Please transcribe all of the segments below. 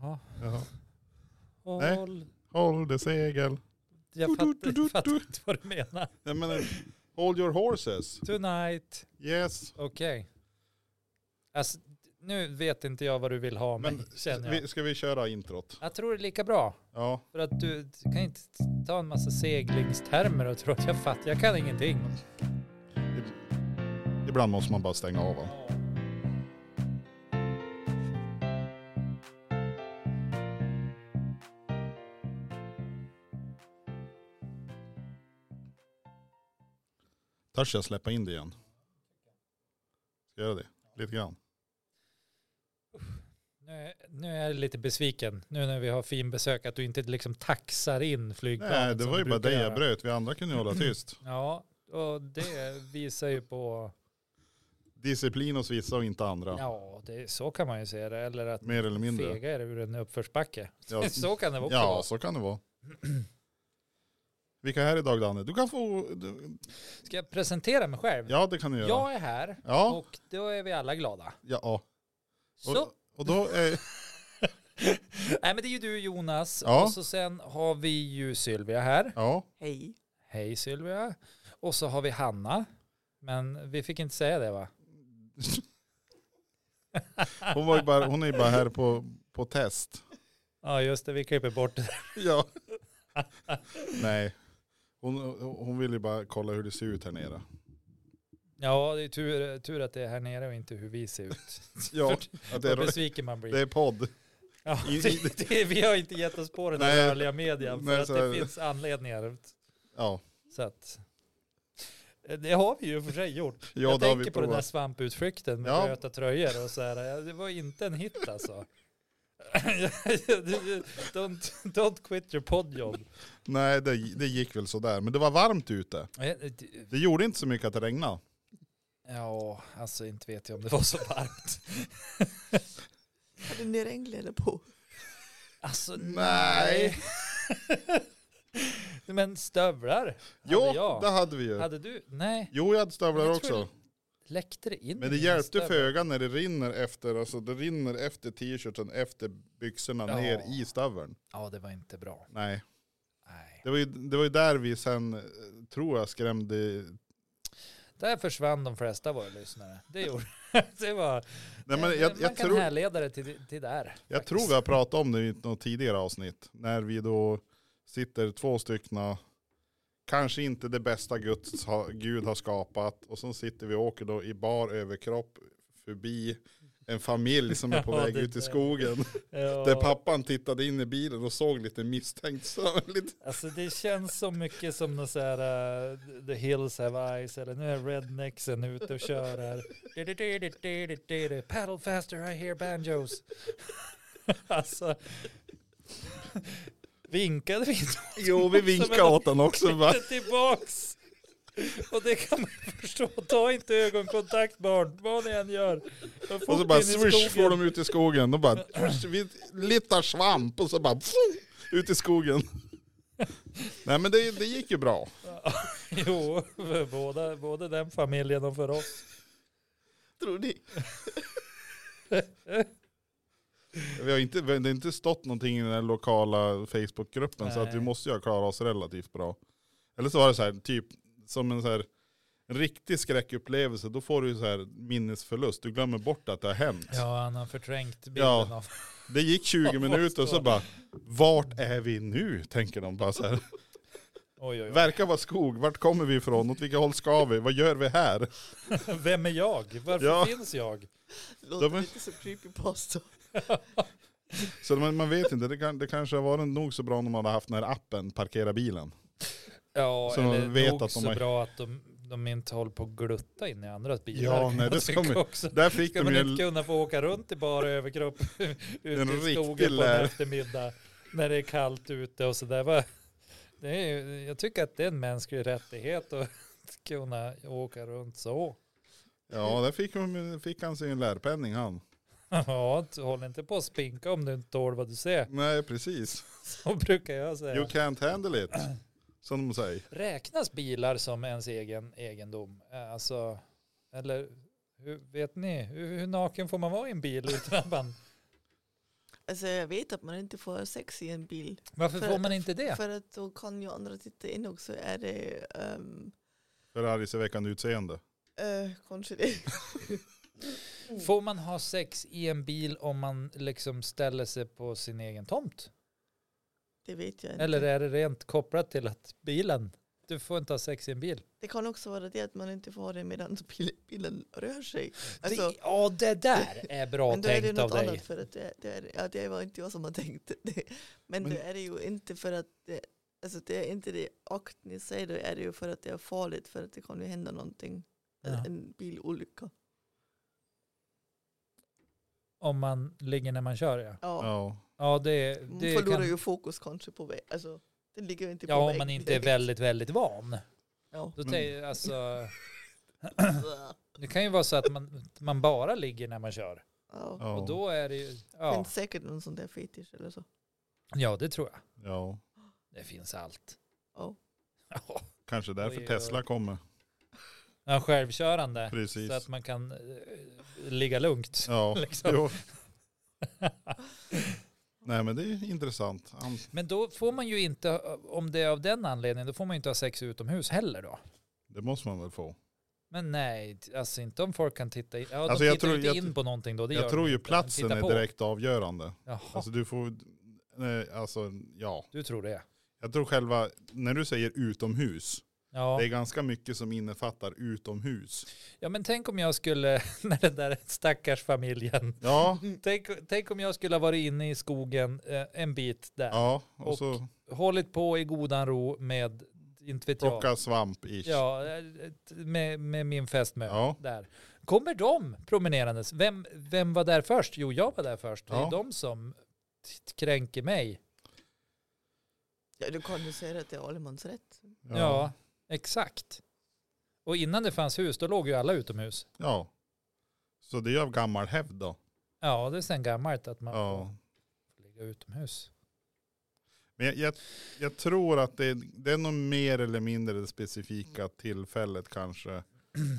Ja. Ja. Nej. Håll. Håll det segel. Jag fattar jag fattar inte vad du menar. Nej, men, eh, hold your horses. Tonight. Yes. Okej. Alltså, nu vet inte jag vad du vill ha mig, Men känner jag. vi, ska vi köra introt? Jag tror det är lika bra. Ja. För att du du kan inte ta en massa seglingstermer och tro att jag fattar. Jag kan ingenting. Ibland måste man bara stänga av. va? Törs jag släppa in det igen? Ska jag göra det? Lite grann. Nu, nu är jag lite besviken. Nu när vi har fin besök att du inte liksom taxar in flygplanet. Nej, det som var du ju bara brukar dig jag göra. Mm. bröt. Vi andra kunde ju hålla tyst. Ja, och det visar ju på... Disciplin hos vissa och inte andra. Ja, det, så kan man ju säga det. Eller att Mer eller mindre. fega är ur en uppförsbacke. Ja, Så kan det också ja vara. så kan det vara. Vilka är här idag Danne? Du kan få... Du, Ska jag presentera mig själv? ja, det kan du göra. Ja. Jag är här Ja. och då är vi alla glada. ja. Så. Och, och då är... Nej men det är ju du Jonas Ja. och så sen har vi ju Sylvia här. Ja. Hej. Hej Sylvia. Och så har vi Hanna. Men vi fick inte säga det va? Hon, var ju bara, hon är ju bara här på, på test. Ja just det, vi klipper bort det. Ja. Nej. Hon, hon vill ju bara kolla hur det ser ut här nere. Ja det är tur, tur att det är här nere och inte hur vi ser ut. Ja, att det, Vad är, besviken man blir. det är podd. ja, i- det, det, vi har inte gett oss på den här Nej. rörliga median för Nej, att så det är det. finns anledningar. Ja, Så att, Eh, det har vi ju i och för sig gjort. ja jag det har tänker vi på den där provat. svamputflykten med Ja. röda tröjor och så här. Ja, Det var inte en hit alltså. don't, don't quit your pod job. Nej, det, det gick väl sådär. Men det var varmt ute. Eh, Det gjorde inte så mycket att det regnade. Ja, alltså inte vet jag om det var så varmt. Hade ni regnkläder på? Alltså Nej. Men stövlar? Jo, Hade jag. det hade vi ju. Hade du? Nej. Jo, jag hade stövlar Jag tror också. Läckte det in? Men det i mina hjälpte stövlar? föga när det rinner efter, alltså det rinner efter t-shirten, efter byxorna Ja. ner i stöveln. Ja, det var inte bra. Nej, Nej. det var, ju, det var ju där vi sen, eh, tror jag, skrämde. Där försvann de flesta av våra lyssnare. Det gjorde det. Var, Nej, Eh, men man jag, jag, kan tror, härleda det till, till där. jag tror vi har pratat om det i något tidigare avsnitt. När vi då sitter två styckna, kanske inte det bästa Guds ha, Gud har skapat. Och så sitter vi och åker då i bar överkropp förbi en familj som är på Ja, väg det ut där. i skogen. Ja. Där pappan tittade in i bilen och såg lite misstänkt. Så lite, Alltså det känns så mycket som något så här eh, The Hills Have Eyes eller nu är rednecksen ute och kör här. Du-du-du-du-du-du-du. Paddle faster I hear banjos. Alltså. Vinkade vi inte jo, vi vinkade åt honom också. tillbaks? Och det kan man ju förstå. Ta inte ögonkontakt barn. Vad ni än gör. Och så bara swish får de ut i skogen. De bara swish, vi littar svamp och så bara pff, ut i skogen. Nej men det, det gick ju bra. Jo, för båda, både den familjen och för oss. Tror ni? Vi har inte, det har inte stått någonting i den här lokala Facebookgruppen så att vi Nej. måste ju ha klarat oss relativt bra. Eller så var det så här, typ som en så här riktig skräckupplevelse, då får du ju så här minnesförlust. Du glömmer bort att det har hänt. Ja, han har förträngt bilden Ja. av Det gick 20 Ja, minuter och så förstår. bara, vart är vi nu? Tänker de bara så här. Oj, oj, oj. Verkar vara skog, vart kommer vi ifrån? Åt vilka håll ska vi? Vad gör vi här? Vem är jag? Varför Ja. finns jag? Låter De är- lite som creepypasta. Så man, man vet inte, det, kan, det kanske har varit nog så bra om de hade haft den här appen, parkera bilen. Ja, Så de eller vet nog att de så är- bra att de, de inte håller på att glutta in i andras bilar. Ja, kan nej, jag det ska tycka man- också. Där fick Ska de man ju inte en, kunna få åka runt i bara överkropp En ute i riktig skogen på en lär. eftermiddag när det är kallt ute och sådär. Va? Det är, ju- jag tycker att det är en mänsklig rättighet att kunna åka runt så. ja, där fick, de, fick han sig en lärpenning han. Ja, håll inte på att spinka om du inte tål vad du ser. Nej, precis. Så brukar jag säga. You can't handle it. Som de säger. Räknas bilar som ens egen egendom? Eh, Alltså, eller hur, vet ni, hur, hur naken får man vara i en bil utan att man Alltså jag vet att man inte får ha sex i en bil. Varför För- får man inte det? För att då kan ju andra titta in också. Är det ehm, Ferrarisveckande utseende. eh, kanske det? Får man ha sex i en bil om man liksom ställer sig på sin egen tomt? Det vet jag inte. Eller är det rent kopplat till att bilen, du får inte ha sex i en bil? Det kan också vara det att man inte får ha det medan bil, bilen rör sig. Alltså, det, ja, det där är bra men då är det tänkt av något dig. annat för att det, det, är, ja, det var inte jag som har tänkt det. Men, Men- då är det ju inte för att det, alltså det är inte det akten i sig, då är det ju för att det är farligt för att det kan ju hända någonting. Ja. En bilolycka. Om man ligger när man kör, ja. Ja. Ja. Ja, det, Man det förlorar kan, ju fokus kanske på väg. Alltså, den ligger ju inte på ja, om väg man inte är direkt. väldigt, väldigt van. Ja. Då Men- tänker, alltså, det kan ju vara så att man, man bara ligger när man kör. Ja. Ja. Och då är det ju, Det ja, finns säkert någon sån där fetisch eller så. ja det tror jag. ja. Det finns allt. Ja. Ja, Kanske därför Oj, oj. Tesla kommer. Ja, självkörande. Precis. Så att man kan eh, ligga lugnt. Ja. liksom. Jo. Nej men det är intressant. Han- Men då får man ju inte, om det är av den anledningen, då får man ju inte ha sex utomhus heller då. Det måste man väl få. Men nej, t- alltså inte om folk kan titta in. Ja, Alltså, de jag tittar tror- ju inte jag- in på någonting då. Det gör Jag de tror ju inte, men platsen titta är på. direkt avgörande. Jaha, Alltså du får, nej, alltså ja. du tror det. Jag tror själva, när du säger utomhus, Ja. det är ganska mycket som innefattar utomhus. ja, men tänk om jag skulle, när den där stackars familjen, Ja, tänk, tänk om jag skulle ha varit inne i skogen eh, en bit där, ja. och, Och så hållit på i godan ro med, inte vet jag, plocka svamp ish. ja, eh, med, med min fästmö Ja. där. Kommer de promenerandes? Vem, vem var där först? Jo, jag var där först. Det är Ja. de som t- kränker mig. Ja, du kan ju säga att det är allemansrätt. Ja. exakt. Och innan det fanns hus, då låg ju alla utomhus. Ja. Så det är av gammal hävd då. Ja, det är sen gammalt att man Ja. får ligga utomhus. Men jag, jag, jag tror att det, det är nog mer eller mindre det specifika tillfället kanske.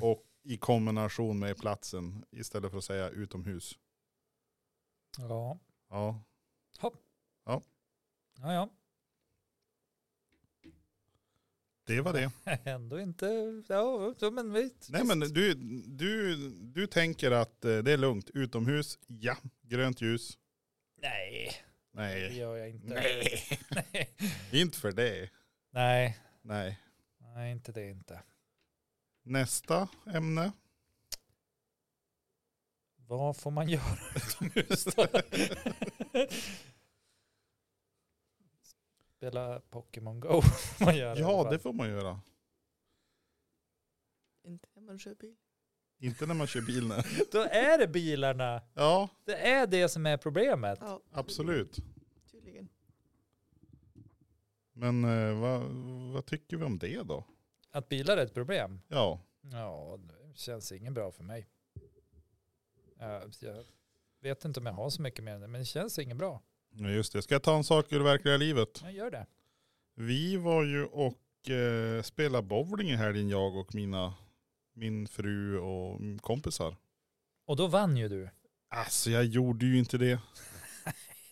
Och i kombination med platsen istället för att säga utomhus. Ja, Ja. ja, ja. Det var det. Ändå inte, ja, så men vi... Nej men du, du, du tänker att eh, det är lugnt. Utomhus, ja. Grönt ljus, Nej, det nej. gör jag inte. Nej, Nej, inte för det. nej, Nej. nej inte det inte. Nästa ämne. Vad får man göra utomhus då? Spela Pokémon Go får man göra. i alla Ja, fall. det får man göra. Inte när man kör bil. Inte när man kör bil. nej. Då är det bilarna. Ja, Det är det som är problemet. Ja, absolut. tydligen. Men eh, vad, vad tycker vi om det då? Att bilar är ett problem. Ja, Ja, det känns ingen bra för mig. Jag, jag vet inte om jag har så mycket mer än det, men det känns ingen bra. ja, just det. Ska jag ta en sak ur verkliga livet? Jag gör det. Vi var ju och eh, spelade bowling i helgen, jag och mina, min fru och mm, kompisar. Och då vann ju du. Alltså jag gjorde ju inte det.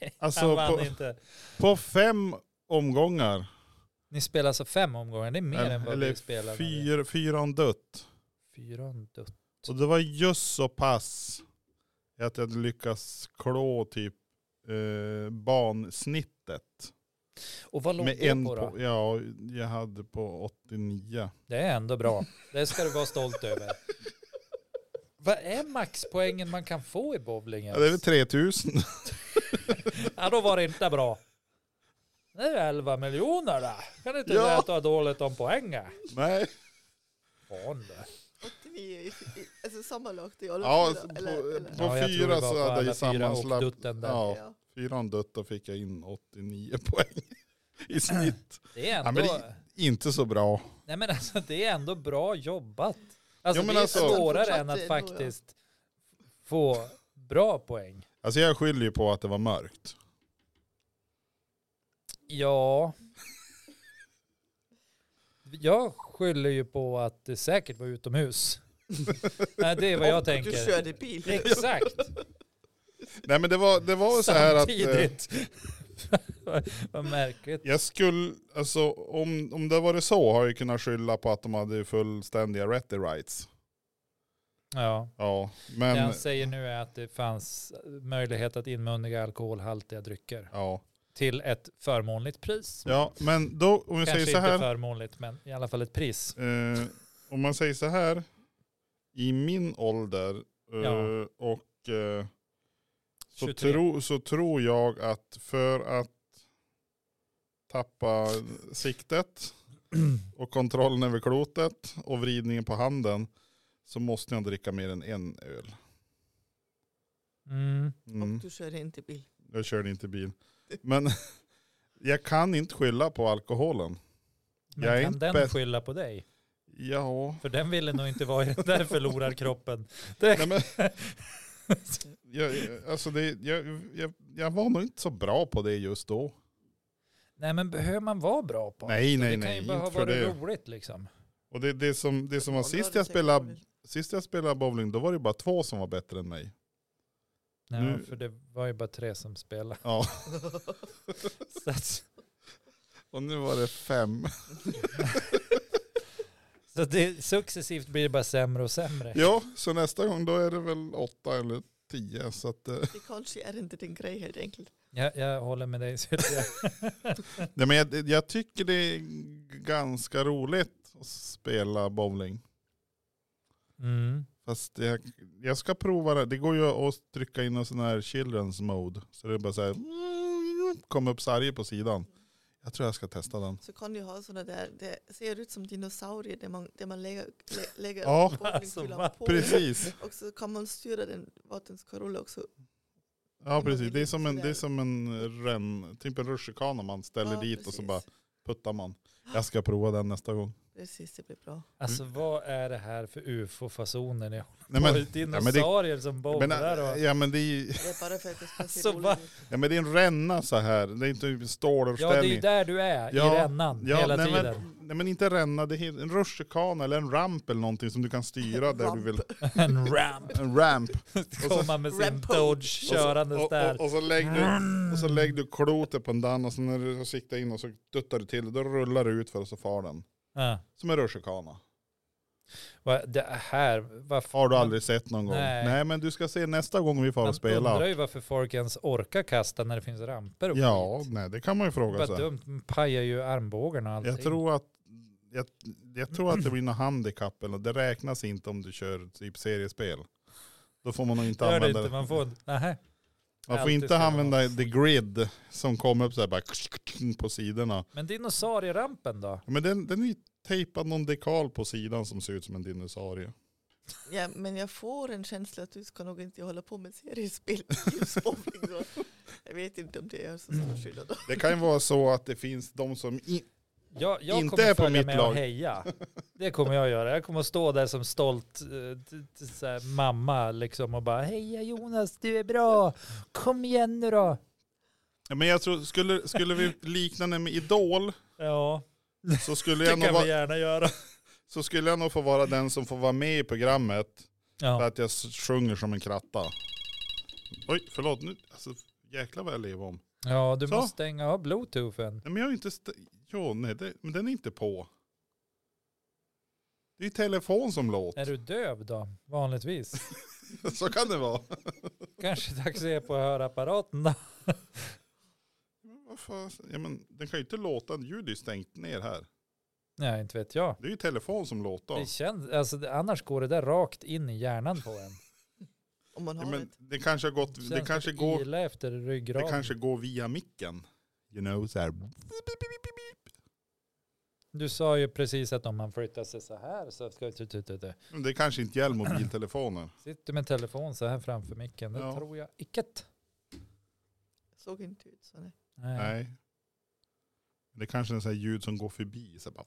Han Alltså vann på, inte. på fem omgångar, Ni spelar alltså fem omgångar, det är mer än vad vi spelar. eller när fyra, fyran dött. vi- Fyran dött. Och det var just så pass att jag hade lyckats klå typ eh, bansnittet. Och vad låg Med det en på då? på, ja, jag hade på 89. Det är ändå bra. Det ska du vara stolt över. Vad är maxpoängen man kan få i bowling? Ja, det är väl 3000. Ja, då var det inte bra. Det är 11 miljoner då. Kan du inte Ja. säga att du har dåligt om poängen? Nej. Fan du. 89 i, i, alltså sammanlagt i alla Ja, fall, på, eller, eller, på Ja, jag tror fyra det var så på hade alla jag fyra och sammanslagit. dutten där. Ja, ja. fyran dött och fick jag in 89 poäng i snitt. Det är Ja, ändå, men Inte så bra. nej, men alltså, det är ändå bra jobbat. Alltså, Ja, men det är alltså- svårare än att Fortsatte ändå, ja. faktiskt få bra poäng. Alltså jag skyller ju på att det var mörkt. Ja. Jag skyller ju på att det säkert var utomhus. Nej, det är vad jag Du tänker. körde bil. Exakt. Nej men det var, det var så här att eh, Samtidigt. Vad- Vad märkligt. jag skulle, alltså om, om det var så har jag kunnat skylla på att de hade fullständiga rätt rights. Ja. Ja, Det men han säger nu är att det fanns möjlighet att inmundiga alkoholhaltiga drycker ja. till ett förmånligt pris. Ja, men då om jag säger Kanske så inte här. förmånligt, men i alla fall ett pris. Eh, om man säger så här, i min ålder eh, Ja. och eh, så, 23. tro, så tror jag att för att tappa siktet och kontrollen över klotet och vridningen på handen så måste jag dricka mer än en öl. Mm. Mm, Och du kör inte bil. jag körde inte bil. Men jag kan inte skylla på alkoholen. Men Jag är kan inte den bäst- skylla på dig? Ja, För den ville nog inte vara i den där förlorarkroppen. Det... Nej, men, jag, jag- alltså det, jag, jag, jag var nog inte så bra på det just då. Nej men behöver man vara bra på? Nej, nej, det nej, kan ju bara ha inte för varit det. roligt liksom. Och det, det som, det som var sist jag, spelade, sist jag spelade bowling, då var det bara två som var bättre än mig. Nej, Nu- för det var ju bara tre som spelade. Ja, Så att... och nu var det fem. Så det, successivt blir det bara sämre och sämre. Ja, så nästa gång då är det väl åtta eller tio. Så att, eh, Det kanske är inte din grej helt enkelt. Jag, jag håller med dig Sylvia. nej, men jag, jag tycker det är ganska roligt att spela bowling. Mm. Fast jag, jag ska prova det. Det går ju att trycka in en sån här children's mode. Så det är bara så här, kom upp sarger på sidan. Jag tror jag ska testa den. Så kan du ha sådana där, det ser ut som dinosaurier där man, där man lägger, lä, lägger Ja, bowlingkulan alltså, på. Precis. Och så kan man styra den vart den ska rulla också. Ja precis. Det är som en, det är som en ren, typ en rutschkana man ställer Ja, dit och så precis. bara puttar man. Jag ska prova den nästa gång. Precis, det blir bra. Alltså vad är det här för ufo-fasoner ni har? Mm. Nej, men, Dinosaurier som men, äh, bowlar och... ja, men, det är, ju- Det är bara för att det ska se Alltså, roligt va? ut. ja, men det är en ränna så här. Det är inte Ja, det är ju ståluppställning. där du är, Ja, i rännan hela nej, tiden. Men, nej men inte ränna, det är en rutschkana eller en ramp eller någonting som du kan styra där du vill. En ramp. En ramp. Komma med sin Rampo. Dodge Och så- körandes och, och, där. och, så lägger Ah. du, och så lägger du klotet på en dan och så när du siktar in och så duttar du till då rullar du ut för och så far den. Ja. Som en rutschkana. Va, det här, varför? Har du aldrig sett någon gång? Nej. Nej men du ska se nästa gång vi far Man och spelar. undrar ju varför folk ens orkar kasta när det finns ramper och Ja, skit. nej det kan man ju Det fråga är bara sig. dumt, man pajar ju armbågarna och allting. Jag tror att jag, jag tror att det blir något handikapp eller det räknas inte om du kör typ seriespel. Då får man nog inte Gör det använda inte, man får... Nähä. man får alltid inte spela använda the grid som kommer upp så här bara på sidorna. Men dinosaurierampen då? Ja, Men den, den är ju tejpad någon dekal på sidan som ser ut som en dinosaurie. Ja, men jag får en känsla att du ska nog inte hålla på med seriespel just bowling. då. liksom. Jag vet inte om det är så Mm. stor skillnad. då. Det kan ju vara så att det finns de som... I, Jag, jag Inte kommer på följa mitt med lag. och heja. Det kommer jag göra. Jag kommer att stå där som stolt eh, t- t- så här, mamma liksom och bara heja Jonas, du är bra. Kom igen nu då. Ja, men jag tror, skulle, skulle vi likna den med Idol Ja, så skulle, det jag nog kan vi va, gärna göra. så skulle jag nog få vara den som får vara med i programmet för Ja. att jag s- sjunger som en kratta. Oj, förlåt. Nu, alltså, jäklar vad jag lever om. ja, du Så. måste stänga av bluetoothen. Nej, men jag är inte... St- jo, nej, det, men den är inte på. Det är ju telefon som Är låter. du döv då? Vanligtvis. Så kan det vara. Kanske dags att ge på hörapparaten då. Men vad fan, ja, men, den kan ju inte låta. Ljudet är ju stängt ner här. Nej, inte vet jag. Det är ju telefon som låter. Det känns, alltså, det- annars går det där rakt in i hjärnan på en. Om man Ja, har men ett. det kanske har gått, Känns det som kanske att går, ila efter ryggraden. det kanske går via micken. You know, så här. Du sa ju precis att om man flyttar sig så här så ska det... Men Det kanske inte gäller mobiltelefoner. Sitter med telefon så här framför micken, det Ja. tror jag icket. såg inte ut så. Nej. Nej. Nej. Det kanske är en sån här ljud som går förbi. Så här bara.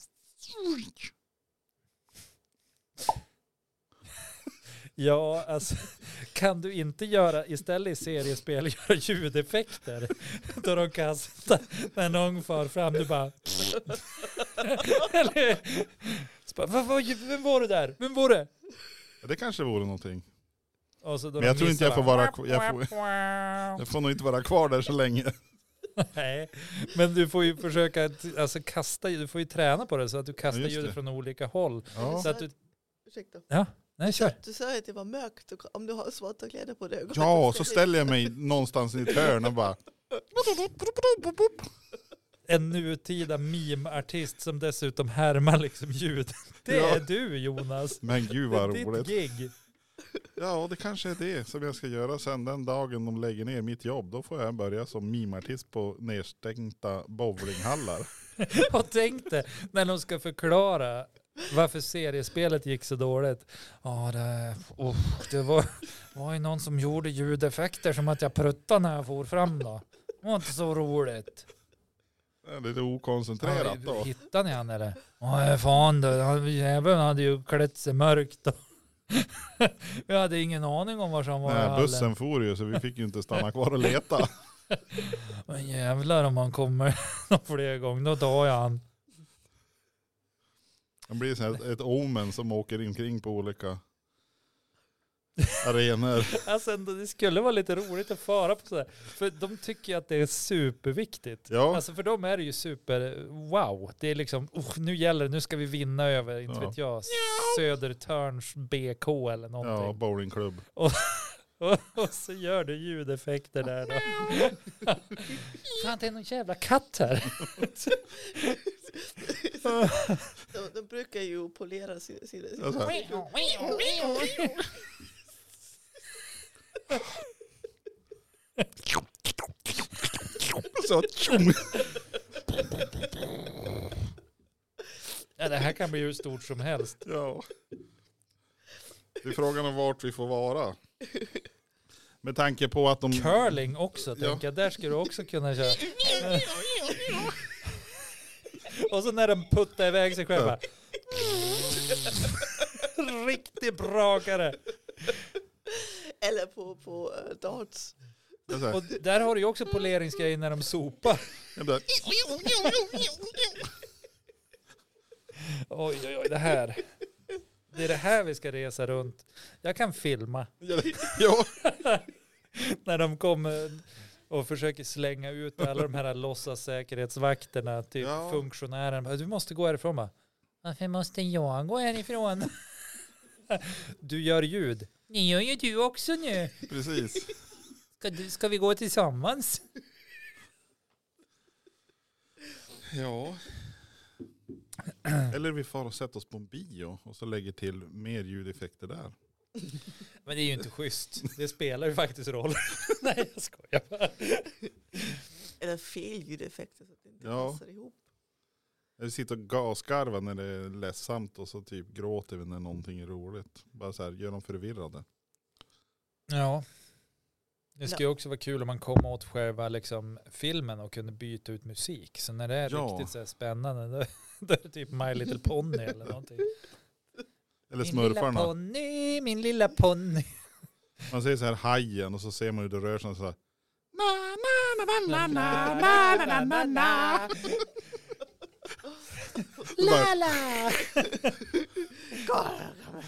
Ja, alltså kan du inte göra, istället i seriespel, göra ljudeffekter då de kastar när någon far fram, du bara... Eller, så bara, vad, vad, vem var det där? Vem var det? Ja, Det kanske vore någonting. Och så då Men de jag tror inte jag missar får alla. vara- jag Jag får nog inte vara kvar där så länge. Nej, men du får ju försöka att, alltså, kasta, du får ju träna på det så att du kastar just ljudet det. från olika håll. Ja. Så att du, Ursäkta. nej kör. Du sa att det var mörkt, och om du har svarta kläder på dig. Ja, så ställer jag mig någonstans i ett hörn och bara... En nutida meme-artist som dessutom härmar liksom ljud. Det Ja. är du Jonas. Men Det gud vad är ditt roligt. gig. Ja, det kanske är det som jag ska göra sen den dagen de lägger ner mitt jobb. Då får jag börja som mimartist på nedstängda bowlinghallar. Och tänk dig när de ska förklara varför seriespelet gick så dåligt. Ja, det, oh, det var, var ju någon som gjorde ljudeffekter som att jag pruttade när jag for fram då. Det var inte så roligt. Det är Lite okoncentrerat Ja, då. Hittade ni han eller? Nej fan du, han- jäveln hade ju klätt sig mörkt. då. Vi hade ingen aning om var han var i Nej, hallen. bussen for ju så vi fick ju inte stanna kvar och leta. Men jävlar om han kommer någon fler gånger, då tar jag han. Det blir så här ett, ett omen som åker omkring på olika arenor. Alltså ändå, det skulle vara lite roligt att fara på sådär. För de tycker ju att det är superviktigt. Ja, Alltså för dem är det ju super, wow. Det är liksom, "Oh, nu gäller det, nu ska vi vinna över, inte Ja. vet jag, Södertörns BK eller någonting. ja bowlingklubb. Och, och så gör du ljudeffekter där då. Fan, det är någon jävla katt här. De, de brukar ju polera sina... sina, sina. Ja, så här. Så, tjong. Ja, det här kan bli hur stort som helst. Ja. Det är frågan om vart vi får vara. Med tanke på att de... Curling också, Mm. Ja. tänker jag. Där ska du också kunna köra. Och så när de puttar iväg sig själva. Riktig brakare. Eller på, på eh, darts. Jag säger, Och där har du ju också poleringsgrejer när de sopar. jag bara, Oj, oj, oj, det här. Det är det här vi ska resa runt. Jag kan filma. ja, när de kommer och försöker slänga ut alla de här låtsas säkerhetsvakterna, typ Ja. funktionären. bara, Du måste gå härifrån bara. Varför måste jag gå härifrån? Du gör ljud. Ni gör ju du också nu. precis. Ska, du, ska vi gå tillsammans? Ja. Eller vi far och sätter oss på en bio och så lägger till mer ljudeffekter där. Men det är ju inte schysst. Det spelar ju faktiskt roll. Nej, jag skojar bara. Eller fel ljudeffekter så att det inte Ja. passar ihop. Eller sitter och gasgarvar när det är ledsamt och så typ gråter vi när någonting är roligt. Bara så här, gör dem förvirrade. Ja. Det skulle ju också vara kul om man kom åt själva liksom, filmen och kunde byta ut musik. Så när det är Ja. riktigt så här spännande, då, då är det typ My Little Pony eller någonting. Eller Min lilla smurfarna. ponny, min lilla ponny. Man ser så här hajen och så ser man hur det rör sig så här. Na, na, na, na, na, na. Bara, Lala!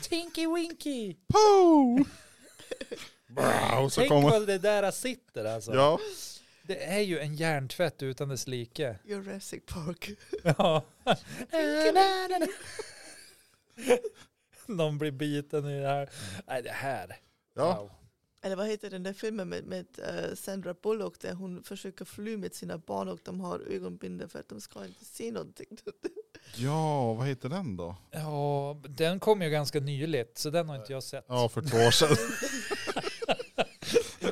Tinky Winky! Pow! Bra, och så Tänk kommer... vad det där sitter alltså. Ja, Det är ju en hjärntvätt utan dess like. Jurassic Park. Ja. Någon blir biten i det här. Nej, det här. ja. Wow. Eller vad heter den där filmen med, med eh, Sandra Bullock där hon försöker fly med sina barn och de har ögonbindel för att de ska inte se någonting. ja, vad heter den då? Ja, den kom ju ganska nyligt, så den har inte jag sett. Ja, för två år sedan.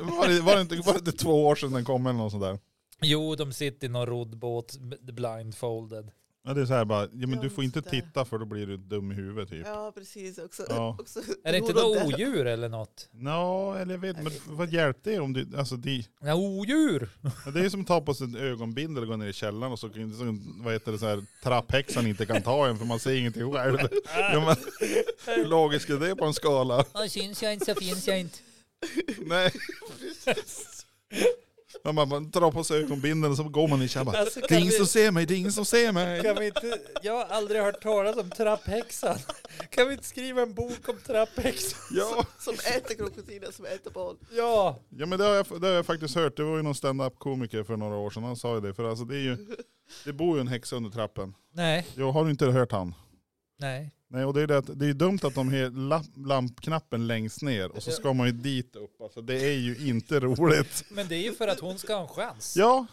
var, det, var, det inte, var det inte två år sedan den kom eller något sånt där? Jo, de sitter i någon roddbåt, b- blindfolded. Ja, det är så här bara, ja, men du får inte Just det. titta för då blir du dum i huvudet typ. Ja, precis. Också, Ja. också Är det inte något odjur eller något? Ja, eller jag vet, men vad hjälpte det om du, alltså det, Ja, odjur! det är som att ta på sig en ögonbindel och gå ner i källaren och så, så vad heter det, så här, trapphäxan inte kan ta en för man ser ingenting själv. Ja, men, hur logiskt är det på en skala? Ja, syns jag inte så finns jag inte. Nej. Men man, man drar på sig ögonbindeln och så går man i källaren bara, Alltså, det är kan, ingen vi, som ser mig, det är ingen som ser mig. kan vi inte... Jag har aldrig hört talas om trapphäxan. Kan vi inte skriva en bok om trapphäxor? Ja, Som äter krokodiler, som äter barn. Ja, ja men det har, jag, det har jag faktiskt hört. Det var ju någon stand-up komiker för några år sedan. Han sa ju det. För alltså det är ju, det bor ju en häxa under trappen. nej, Jag har du inte hört han? nej. Nej, och det är, det, att, det är dumt att de har lamp, lampknappen längst ner och så ska man ju dit upp. Alltså, det är ju inte roligt. Men det är ju för att hon ska ha en chans. Ja.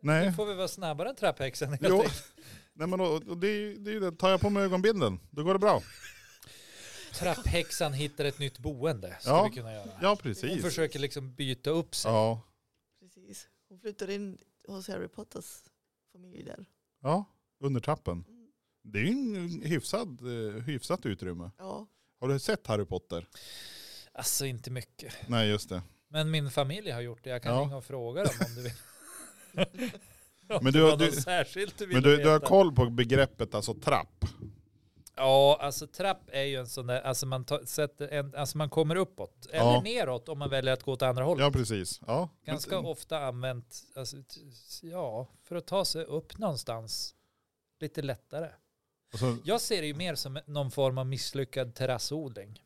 Nu Nej. får vi vara snabbare än trapphäxan helt Jo. enkelt. Nej men och, och det är ju det är ju det. Tar jag på mig ögonbindeln, då går det bra. Trapphäxan hittar ett nytt boende, ska Ja. vi kunna göra. Ja, Hon precis. försöker liksom byta upp sig. Ja. Precis. Hon flyttar in hos Harry Potters familj där. Ja, under trappen. Mm. Det är ju en hyfsad, eh, hyfsat utrymme. Ja, Har du sett Harry Potter? Alltså inte mycket. Nej, just det. Men min familj har gjort det. Jag kan Ja. ringa och fråga dem om du vill. om Men du det har- var du- något särskilt du ville Men du, veta. du har koll på begreppet alltså trapp? Ja, alltså trapp är ju en sån där, alltså man, tar, sätter en, alltså man kommer uppåt. Eller Ja. neråt om man väljer att gå åt andra hållet. Ja, precis. Ja. Ganska ofta använt, alltså, t- ja, för att ta sig upp någonstans lite lättare. Och så, Jag ser det ju mer som någon form av misslyckad terrassodling.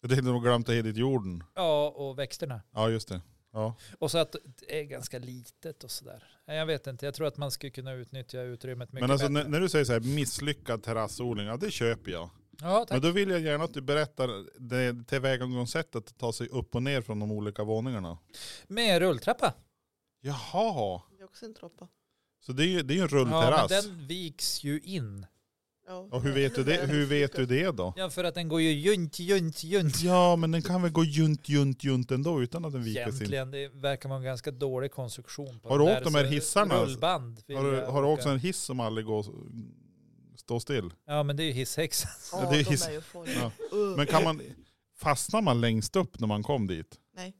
jag tänkte att de glömt att ge dit jorden. Ja, och växterna. Ja, just det. Ja. Och så att det är ganska litet och sådär. Nej, Jag vet inte, jag tror att man skulle kunna utnyttja utrymmet mycket Men alltså bättre. när, när du säger så här misslyckad terrassodling, ja det köper jag. Ja, tack. Men då vill jag gärna att du berättar det tillvägagångssättet att ta sig upp och ner från de olika våningarna. Med rulltrappa. Jaha, det är också en trappa. så det är ju det är ju en Ja, rullterrass. men den viks ju in. Ja. Och hur vet du det, hur vet du det då? Ja, för att den går ju junt, junt, junt. Ja, men den kan väl gå junt, junt, junt ändå utan att den viker sin. Egentligen, det verkar vara en ganska dålig konstruktion. På Har den du där, åkt de här så hissarna? alltså? Rullband. vill Har du, jag har du åka. också en hiss som aldrig går står still? Ja, men det är ju hisshäxan. Ja, Ja, det är de his- är ju folk. Ja. Uh, Men kan man, fastnar man längst upp när man kom dit? Nej.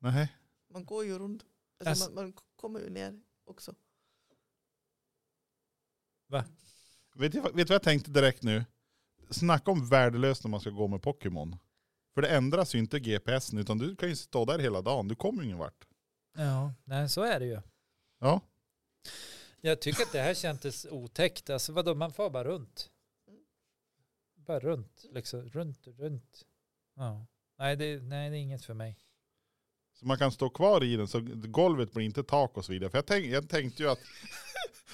Nej. Man går ju runt. Alltså, Alltså- Man, man kommer ju ner också. Vet du, vad- vet du vad jag tänkte direkt nu? Snacka om värdelöst när man ska gå med Pokémon. För det ändras ju inte GPSen utan du kan ju stå där hela dagen. Du kommer ju ingen vart. Ja, nej, så är det ju. Ja. Jag tycker att det här kändes otäckt. Alltså vadå, man får bara runt. Bara runt, liksom. Runt, runt. Ja. Nej, det, nej, det är inget för mig. Så man kan stå kvar i den så golvet blir inte tak och så vidare. För jag, tänk, jag tänkte ju att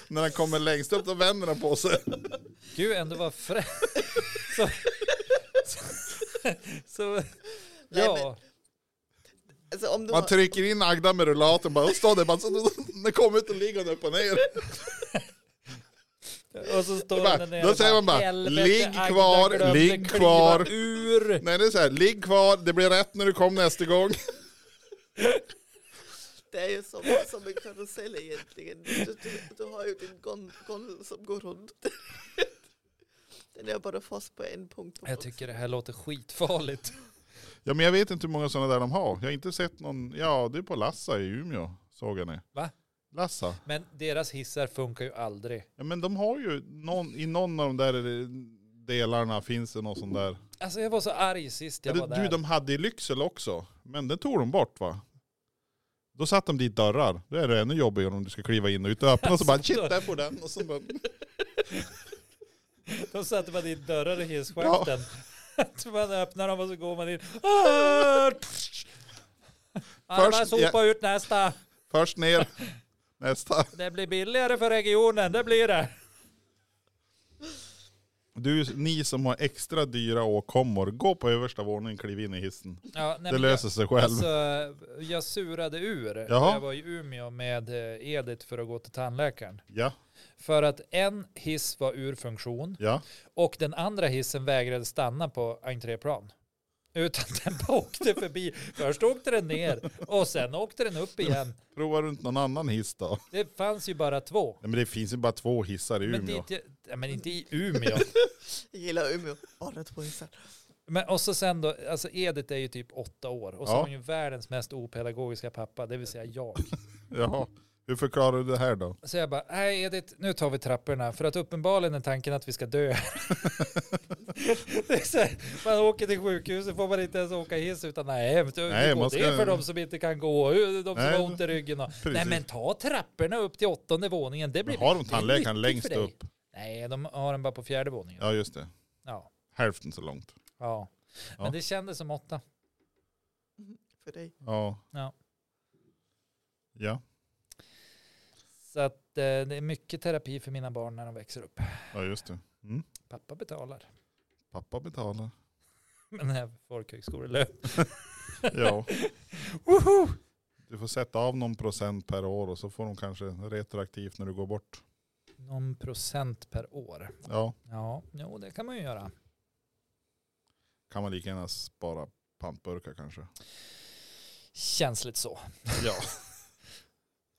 när den kommer längst upp då vänder den på sig. Gud, ändå var frä... så, så, så, Nej, ja, Alltså, om du Man har- trycker in Agda med rullatorn bara, och står där bara, så, den kommer ut och ligger den upp och ner. och så står Bara, den där då och säger man bara, "Helvete, ligg Agda kvar, glömde ligg kliva kvar." Ur. Nej det är så här, ligg kvar, det blir rätt när du kom nästa gång. Det är ju som, som en karusell egentligen. Du, du, du har ju din gon- gondola som går runt. Den är bara fast på en punkt. Jag tycker det här låter skitfarligt. Ja men jag vet inte hur många sådana där de har. Jag har inte sett någon, ja det är på Lassa i Umeå såg jag nu. Va? Lassa. Men deras hissar funkar ju aldrig. Ja men de har ju, någon, i någon av de där eh, delarna finns det någon sån där. Alltså jag var så arg sist jag var Eller, där. du de hade i Lycksele också, men den tog de bort va? Då satte de dit dörrar. Då är det ännu jobbigare om du ska kliva in och ut och öppna och så bara shit där får den. Och så bara, De satte man i dörrar i hisschakten. Så man öppnar dem och så går man in. Ah! Alla Först- sopa ut nästa. först ner, nästa. Det blir billigare för regionen, det blir det. Du, ni som har extra dyra åkommor, gå på översta våningen, kliv in i hissen. Ja, nej, det men löser sig jag, själv. alltså, jag surade ur. Jaha. Jag var i Umeå med eh, Edith för att gå till tandläkaren. Ja, För att en hiss var ur funktion ja. och den andra hissen vägrade stanna på entréplan. Utan den bara åkte förbi. Först åkte den ner och sen åkte den upp igen. Prova runt någon annan hiss då. Nej, Det fanns ju bara två. men det finns ju bara två hissar i Umeå. Men, dit, jag- ja, men inte i Umeå. Jag gillar Umeå. Bara två hästar. men, och så sen då, alltså Edith är ju typ åtta år och så Ja. har hon ju världens mest opedagogiska pappa, det vill säga jag. Jaha. Hur förklarar du det här då? Så jag bara, nej Edith, nu tar vi trapporna för att uppenbarligen är tanken att vi ska dö. det är så här, man åker till sjukhuset får man inte ens åka hiss utan nej, Nej, nej man man ska- det är för de som inte kan gå, de som Nej, har ont i ryggen. Och, precis. nej men ta trapporna upp till åttonde våningen, det blir Men har de det är tandläkaren nyttigt längst för dig. upp? Nej, de har den bara på fjärde våningen. Ja just det. Ja. Hälften så långt. ja. Men Ja. det kändes som åtta. För dig. Ja. Ja. Ja, Så att eh, det är mycket terapi för mina barn när de växer upp. ja just det. Mm. Pappa betalar. Pappa betalar. Men här folkhögskolelön. Ja. Woho! Du får sätta av någon procent per år och så får de kanske retroaktivt när du går bort. Någon procent per år. Ja, Ja, jo, det kan man ju göra. kan man lika gärna spara pantburkar kanske. Känns lite så. Ja.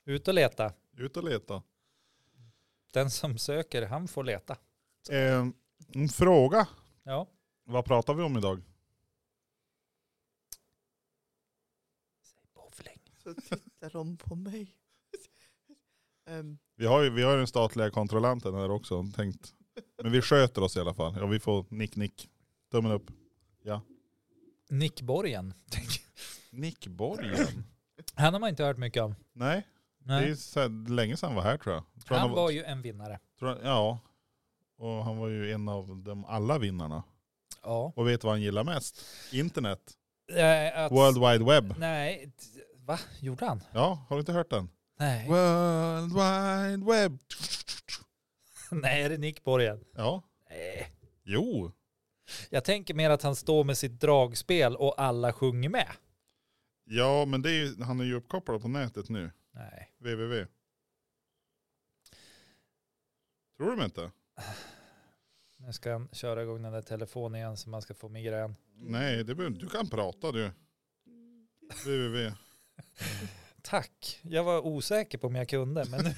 Ut och leta. Ut och leta. Den som söker, han får leta. Eh, en fråga. Ja. Vad pratar vi om idag? Bowling. Så tittar de på mig. Ehm, Vi har ju vi har ju den statliga kontrollanten här också. Tänkt. Men vi sköter oss i alla fall. Ja, vi får nick nick. Tummen upp. Nick Borgen. Nick Borgen? Han har man inte hört mycket av. Nej, det är Nej. så- länge sedan han var här tror jag. Tror Han var ju en vinnare. tror han, ja, och han var ju en av de alla vinnarna. Ja. Och vet vad han gillar mest? Internet. Eh, att- World Wide Web. Nej, t- va? Gjorde han? Ja, har du inte hört den? Nej. World Wide Web. Nej, är det Nick Borgen? Ja, Nej. jo. Jag tänker mer att han står med sitt dragspel och alla sjunger med. Ja, men det är, ju- han är ju uppkopplad på nätet nu. Nej. www. Tror du inte? Nu ska han köra igång den där telefonen igen så man ska få migrän. Nej, det behöver, du kan prata du. www. Tack. Jag var osäker på om jag kunde, men nu,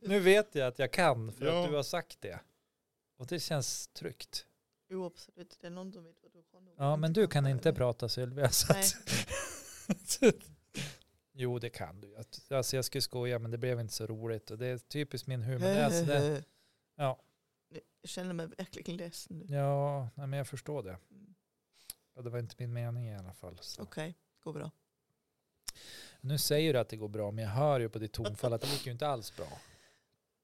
nu vet jag att jag kan för Ja. att du har sagt det. Och det känns tryggt. jo absolut, det är någon som vet vad du kan. och Ja, men du kan inte eller? prata Sylvia. Så att... jo, det kan du. Att- Alltså, jag skulle skoja, men det blev inte så roligt. Och det är typiskt min humor. Det är alltså det... Ja. Jag känner mig verkligen ledsen nu. Ja, nej, men jag förstår det. Mm, Ja, det var inte min mening i alla fall. Så. Okej, går bra. Nu säger du att det går bra, men jag hör ju på ditt tonfall att det gick ju inte alls bra.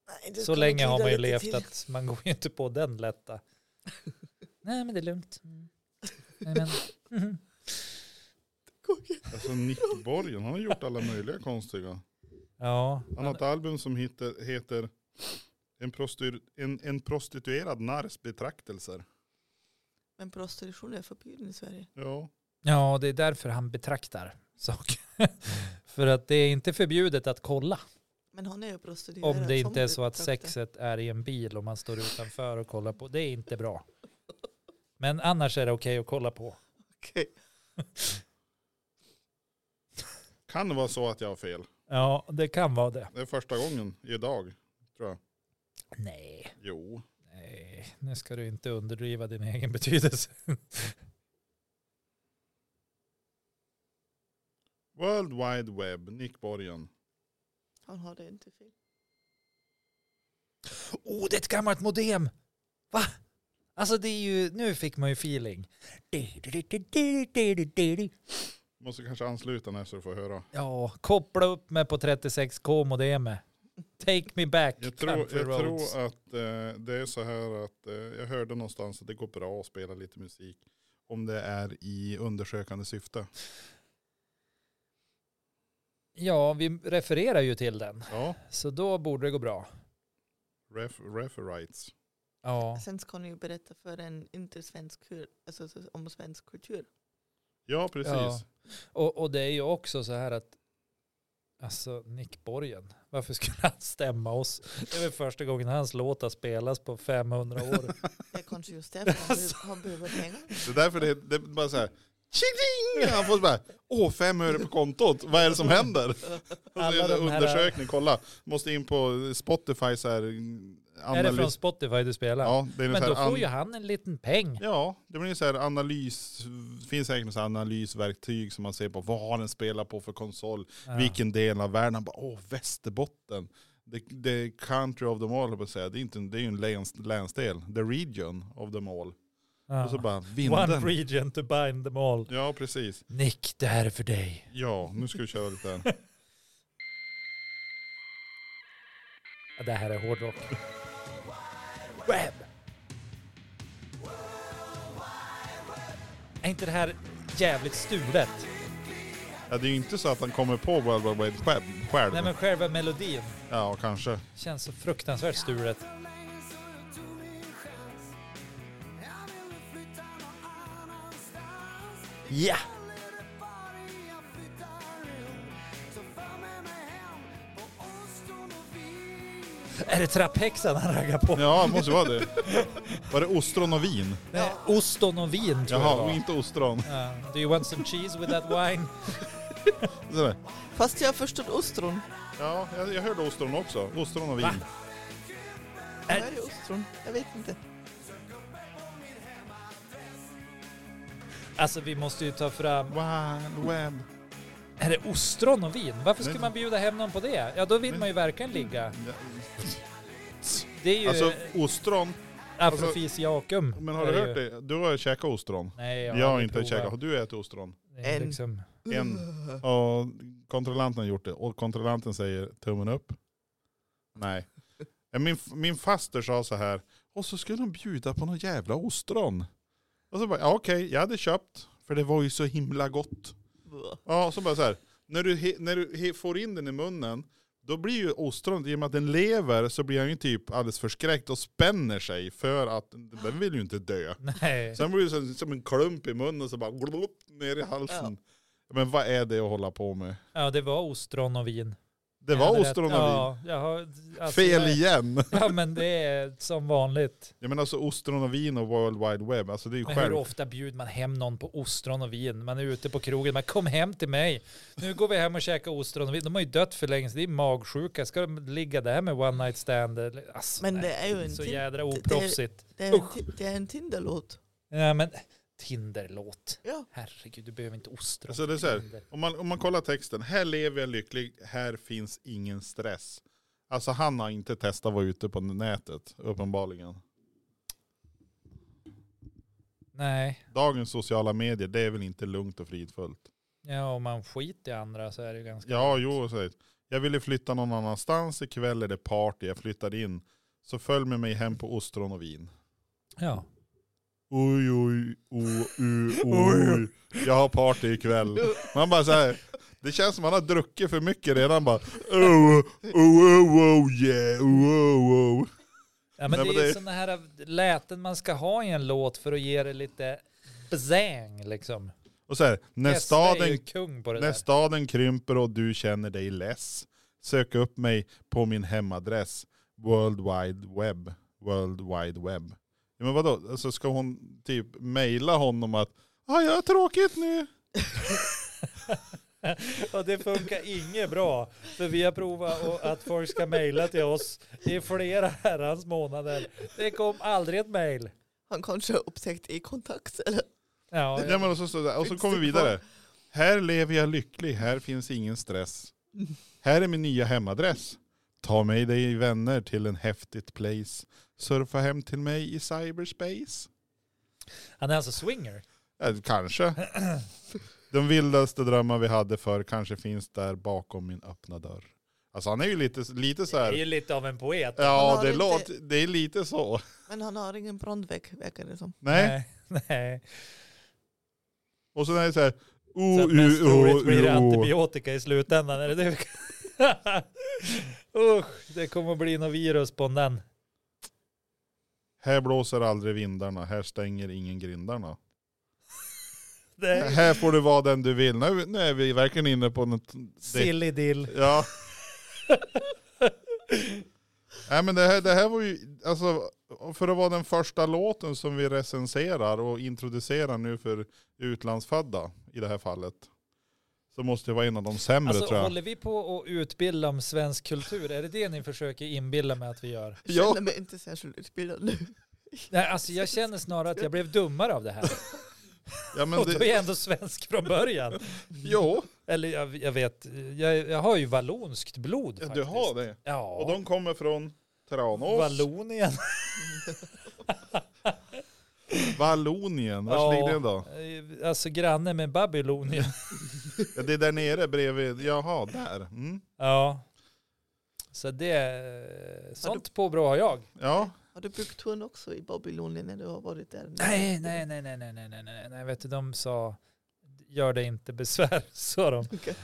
Nej, det Så ska nog länge har tyda man ju lite levt till. att man går ju inte på den lätta. Nej, men det är lugnt. Mm. Nej, men... Mhm. Alltså Nick Borgen, han har gjort alla möjliga konstiga. Ja, Han har ett album som heter, heter en, prostur, en, en prostituerad narrs betraktelser. Men prostitution är förbjuden i Sverige. Ja. ja, det är därför han betraktar saker. För att det är inte förbjudet att kolla. Men han är ju prostituerad. Om det som inte är så att betraktar. sexet är i en bil och man står utanför och kollar på. Det är inte bra. Men annars är det okej att kolla på. Okej. Kan vara så att jag har fel. Ja, det kan vara det. Det är första gången idag, tror jag. Nej, Jo. nej. nu ska du inte underdriva din egen betydelse. World Wide Web, Nick Borgen. Han har det inte fel. Oh, det är ett gammalt modem! Va? Alltså det är ju, nu fick man ju feeling. Måste kanske ansluta när så du får höra. Ja, koppla upp mig på 36k modemet. Take me back, Jag tror, jag country roads. tror att eh, det är så här att eh, jag hörde någonstans att det går bra att spela lite musik om det är i undersökande syfte. Ja, vi refererar ju till den. Ja, Så då borde det gå bra. ref, referites. Ja, Sen ska ni ju berätta för en inte svensk kur, alltså så- om svensk kultur. Ja, precis. Ja. och, och det är ju också så här att Alltså Nick Borgen, varför skulle han stämma oss? Det är väl första gången hans låtar spelas på 500 år. Det är kanske just därför han, be- han behöver pengar. Det är därför det, det är bara så här. Tjing! Han får bara, åh fem öre på kontot, vad är det som händer? Alla de här- Undersökning, kolla. Måste in på Spotify så här. Är det från analys- Spotify du spelar? Ja, det är Men så då här, får an- ju han en liten peng. Ja, det blir ju så här analys, finns säkert något så här analysverktyg som man ser på, vad har den spelat på för konsol, Ja. vilken del av världen, Han bara, åh Västerbotten, the, the country of them all, höll jag på att säga. det är ju det är ju en läns, länsdel, the region of them all. Ja. Och så bara One vinden. region to bind them all. Ja, precis. Nick, det här är för dig. Ja, nu ska vi köra lite här. Ja, Det här är hårdrock. Web! Är inte det här jävligt stulet? Ja, det är ju inte så att han kommer på World Wide Web själv. själv. Nej men själva melodin Ja, kanske. känns så fruktansvärt stulet. Ja! Är det trapphäxan han raggar på? Ja, det måste vara det. Var det ostron och vin? Nej, oston och vin tror jag det Jaha, var. och inte ostron. Uh, do you want some cheese with that wine? Sådär. Fast jag förstod ostron. Ja, jag, jag hörde ostron också. Ostron och vin. Va? Det här är ostron. Jag vet inte. Alltså vi måste ju ta fram... Wild Web. Är det ostron och vin? Varför skulle Men- man bjuda hem någon på det? Ja, då vill Men- man ju verkligen ligga. Ja, Det är ju Alltså alltså, ostron, afrofisiakum. Alltså, men har är du ju. hört det? Du har ju käkat ostron. Nej, jag Jag har, har aldrig inte provat. käkat. Har du ätit ostron? Det är En. Liksom, Mm. En. Och kontrollanten har gjort det. Och kontrollanten säger tummen upp. Nej. Ja, Min, min faster sa så här. Och så skulle de bjuda på någon jävla ostron. Och så bara, ja, okej, jag hade köpt. För det var ju så himla gott. Ja, och så bara så här. När du, he- när du he- får in den i munnen, då blir ju ostron, i och med att den lever, så blir han ju typ alldeles förskräckt och spänner sig för att den vill ju inte dö. nej. Sen blir det som, som en klump i munnen så bara glop, ner i halsen. Men vad är det att hålla på med? Ja, det var ostron och vin. Det Jag var hade ostron och rätt. vin. Ja, jag har, alltså, Fel jag, igen. Ja, men det är som vanligt. Jag menar alltså ostron och vin och World Wide Web, alltså det är ju Men hur själv. ofta bjuder man hem någon på ostron och vin? Man är ute på krogen, man kom hem till mig. Nu går vi hem och käkar ostron och vin. De har ju dött för länge sedan, det är magsjuka. Ska de ligga där med one night stand? eller- Alltså, Men nej. det är ju en, Så tin- jädra oproffsigt. det är en, Usch. ti- det är en Tinder-låt. Ja, men Tinderlåt. Ja. Herregud, du behöver inte ostron. Alltså det är så här. Tinder. Om man, om man kollar texten, här lever jag lycklig, här finns ingen stress. Alltså han har inte testat att vara ute på nätet, uppenbarligen. Nej, Dagens sociala medier, det är väl inte lugnt och fridfullt. ja, om man skiter i andra så är det ju ganska... Ja, jo, säger jag ville flytta någon annanstans, ikväll är det party, jag flyttar in. Så följ med mig hem på ostron och vin. Ja. Oj, oj, oj, oj, oj. Jag har party ikväll. Man bara så här, det känns som man har druckit för mycket redan bara. Oh, oh, oh, oh, yeah, oh, oh, oh. Ja, men Nej, det men är ju det- sådana här läten man ska ha i en låt för att ge det lite bzäng liksom. Och så här, när Testa är ju staden, kung på det när där. staden krymper och du känner dig less, sök upp mig på min hemadress, World Wide Web. World Wide Web. Ja, men vadå, alltså ska hon typ mejla honom att ah, jag har tråkigt nu? Och det funkar inget bra. För vi har provat och att folk ska mejla till oss i flera herrans månader. Det kom aldrig ett mejl. Han kanske har upptäckt i kontakt eller? Ja, Ja, men och, så, står det- och så Finns kommer det vi vidare. Här lever jag lycklig, här finns ingen stress. Här är min nya hemadress. Ta med dig vänner till en häftigt place. Surfa hem till mig i cyberspace. Han är alltså swinger. Eh, kanske. De vildaste drömmar vi hade förr kanske finns där bakom min öppna dörr. Alltså han är ju lite, lite så Det är ju här. lite av en poet. Ja, har det, inte- låter, det är lite så. Men han har ingen brandvägg verkar det som. Nej. Nej. nej. Och så är det så här. Så Oh, att mest oh, oh, troligt blir det oh, oh. antibiotika i slutändan. Är det det? Usch, det kommer att bli något virus på den. Här blåser aldrig vindarna, här stänger ingen grindarna. Nej. Här får du vara den du vill. Nu, nu är vi verkligen inne på något... Det, Silly dill. ja. Nej men det här, det här var ju, alltså för att vara den första låten som vi recenserar och introducerar nu för utlandsfödda i det här fallet. Så måste det vara en av de sämre Alltså tror jag. håller vi på att utbilda om svensk kultur? Är det det ni försöker inbilla mig att vi gör? Jag Ja. känner mig inte särskilt utbildad nu. Nej, alltså jag känner snarare att jag blev dummare av det här. Ja men och då är det, jag ändå svensk från början. jo, Eller jag, jag vet, jag, jag har ju vallonskt blod ja, faktiskt. du har det. Ja, Och de kommer från Tranås, Vallonien. Vallonien. Vart Ja. ligger det då? Eh, Alltså granne med Babylonien. Ja, det är där nere bredvid, jaha där. Mm. Ja. Så det, eh, sånt påbrå har jag. Ja, Har du byggt hund också i Babylonien när du har varit där? Nej, nej, nej, nej, nej, nej, nej, nej, nej, vet du, de sa gör dig inte besvär, sa de. Okej.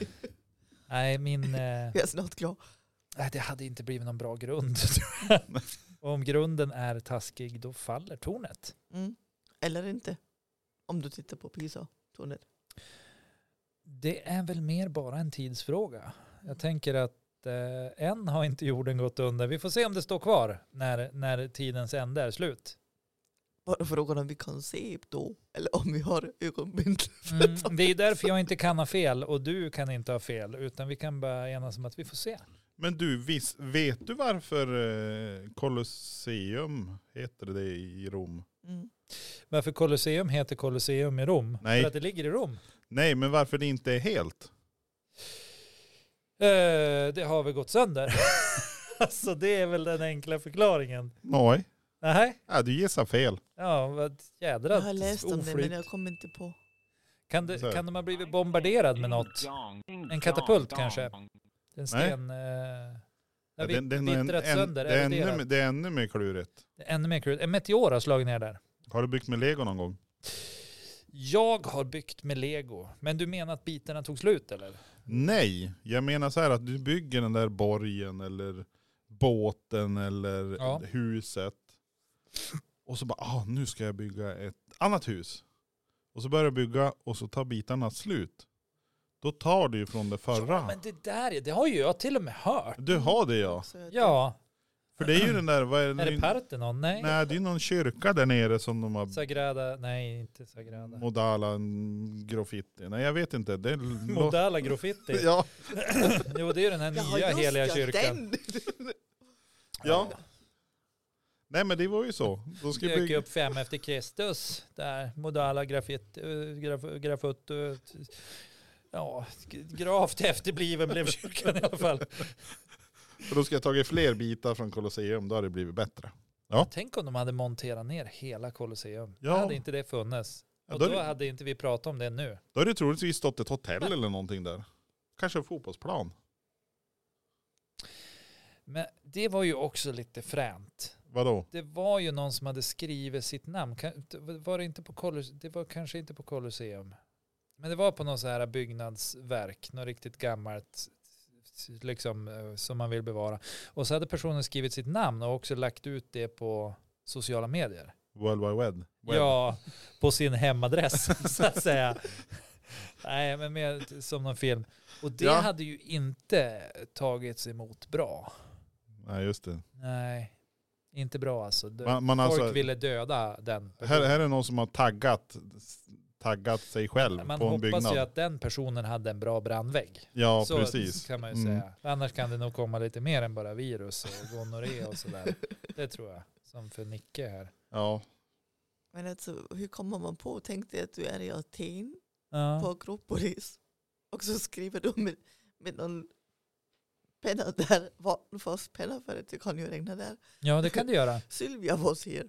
Nej, min, eh, Jag är snart klar. nej, det hade inte blivit någon bra grund. tror jag. Och om grunden är taskig, då faller tornet. Mm. Eller inte. Om du tittar på Pisa-tornet. Det är väl mer bara en tidsfråga. Jag tänker att eh, än har inte jorden gått under. Vi får se om det står kvar när, när tidens ände är slut. Bara frågan om vi kan se då. Eller om vi har ögonbindel. Mm, det är därför jag inte kan ha fel och du kan inte ha fel. Utan vi kan bara enas om att vi får se. Men du, vis, vet du varför eh, Colosseum heter det i Rom? Mm. Varför Colosseum heter Colosseum i Rom? Nej. För att det ligger i Rom. Nej, men varför det inte är helt? Eh, det har väl gått sönder. alltså det är väl den enkla förklaringen. Nej, Nej, ja, du gissar fel. ja vad jädra Jag har läst om det men oflyt. jag kommer inte på. Kan, det, kan de ha blivit bombarderad med något? En katapult kanske? En sten... Eh, Ja, ja, den- vit- den är en- vittrat en- sönder, det, är ännu, eroderat. mer- det är ännu mer klurigt. Det är Ännu mer krut. En meteor har slagit ner där. Har du byggt med lego någon gång? Jag har byggt med lego. Men du menar att bitarna tog slut eller? Nej, jag menar så här att du bygger den där borgen eller båten eller Ja. huset. Och så bara, ah, nu ska jag bygga ett annat hus. Och så börjar du bygga och så tar bitarna slut. Då tar du ju från det förra. Ja, men det där är- det har ju jag till och med hört. Du har det ja. Så jag- Ja, För det är ju den där, vad är det? är det Parthenon? Nej. Nej, det är ju någon kyrka där nere som de har Sagrada, nej inte Sagrada. Modala mm, Graffiti. Nej jag vet inte. Det är Modala Graffiti. Ja, Jo, det är ju den här Jaha, nya just heliga kyrkan. Den. ja. Nej men det var ju så. De ska Dök bygga... upp fem efter Kristus. Där, Modala Graffiti, eh, graf, grafut, eh, ja, gravt efterbliven blev kyrkan i alla fall. För då ska jag tagit fler bitar från Colosseum, då hade det blivit bättre. Tänk om de hade monterat ner hela Colosseum. Ja. Hade inte det funnits. Ja, Och då, är då det, hade inte vi pratat om det nu. då hade det troligtvis stått ett hotell eller någonting där. Kanske en fotbollsplan. Men det var ju också lite fränt. Vadå? Det var ju någon som hade skrivit sitt namn. Kan- Var det inte på Colosseum? Det var kanske inte på Colosseum. Men det var på någon så här byggnadsverk, något riktigt gammalt, liksom eh, som man vill bevara. Och så hade personen skrivit sitt namn och också lagt ut det på sociala medier. World Wide Web? Web. Ja, på sin hemadress så att säga. Nej, men mer som någon film. Och det Ja. hade ju inte tagits emot bra. Nej just det. Nej, inte bra alltså. Det- Man, man Folk alltså, ville döda den. här, personen. här är någon som har taggat, taggat sig själv Man på en hoppas byggnad. ju att den personen hade en bra brandvägg. Ja så precis. kan man ju Mm. säga. Annars kan det nog komma lite mer än bara virus och gonorré och sådär. Det tror jag. Som för Nicke här. Ja. Men alltså, hur kommer man på? Tänk dig att du är i Aten på Ja. Akropolis och så skriver du med, med någon penna där, vattenfast penna för att det kan ju regna där. ja, det kan det göra. Sylvia was here.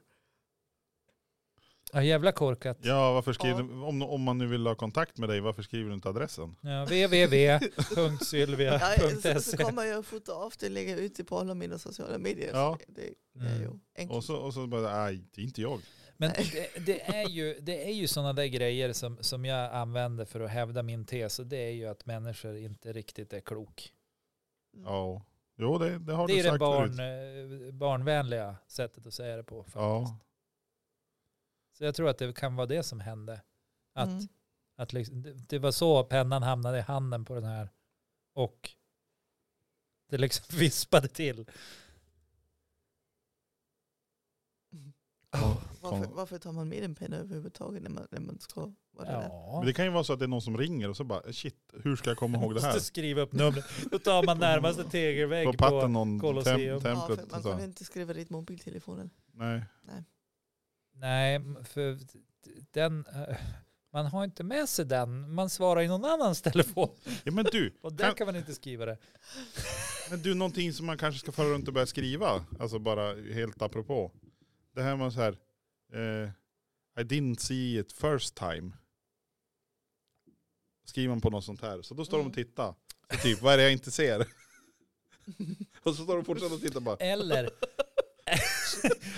Ja, jävla korkat. Ja, varför skriver om, om man nu vill ha kontakt med dig, varför skriver du inte adressen? Ja, Ja, så, så www.sylvia.se kommer jag att fota av det och lägga ut det på alla mina sociala medier. Ja. Det, det är Mm. ju enkelt. Och så, och så bara, nej, det är inte Mm. jag. Men det, det är ju, det är ju sådana där grejer som, som jag använder för att hävda min tes och det är ju att människor inte riktigt är klok. Ja. Jo, det, det har Det du är det sagt barn, förut. eh, barnvänliga sättet att säga det på. Faktiskt. Ja. Så jag tror att det kan vara det som hände. Att, Mm. att liksom, det, det var så pennan hamnade i handen på den här och det liksom vispade till. Ja. Varför, Kom. varför tar man med en penna överhuvudtaget när man, när man ska vara där? Ja. Men det kan ju vara så att det är någon som ringer och så bara, shit, hur ska jag komma ihåg det här? Måste skriva upp numret. Då tar man närmaste På tegelvägg på patten någon tem, Colosseum. Ja, för templet. man alltså. så. kan inte skriva dit mobiltelefonen. Nej. Nej, m- för d- d- den, eh, man har inte med sig den. Man svarar i någon annans telefon. Ja, men du, Och där kan man inte skriva det. Men du, någonting som man kanske ska föra runt och börja skriva, alltså bara helt apropå. Det här med så här, eh, I didn't see it first time. Skriver man på något sånt här, så då står de och Mm. tittar. Så typ, vad är det jag inte ser? och så står de fortfarande och tittar bara, Eller,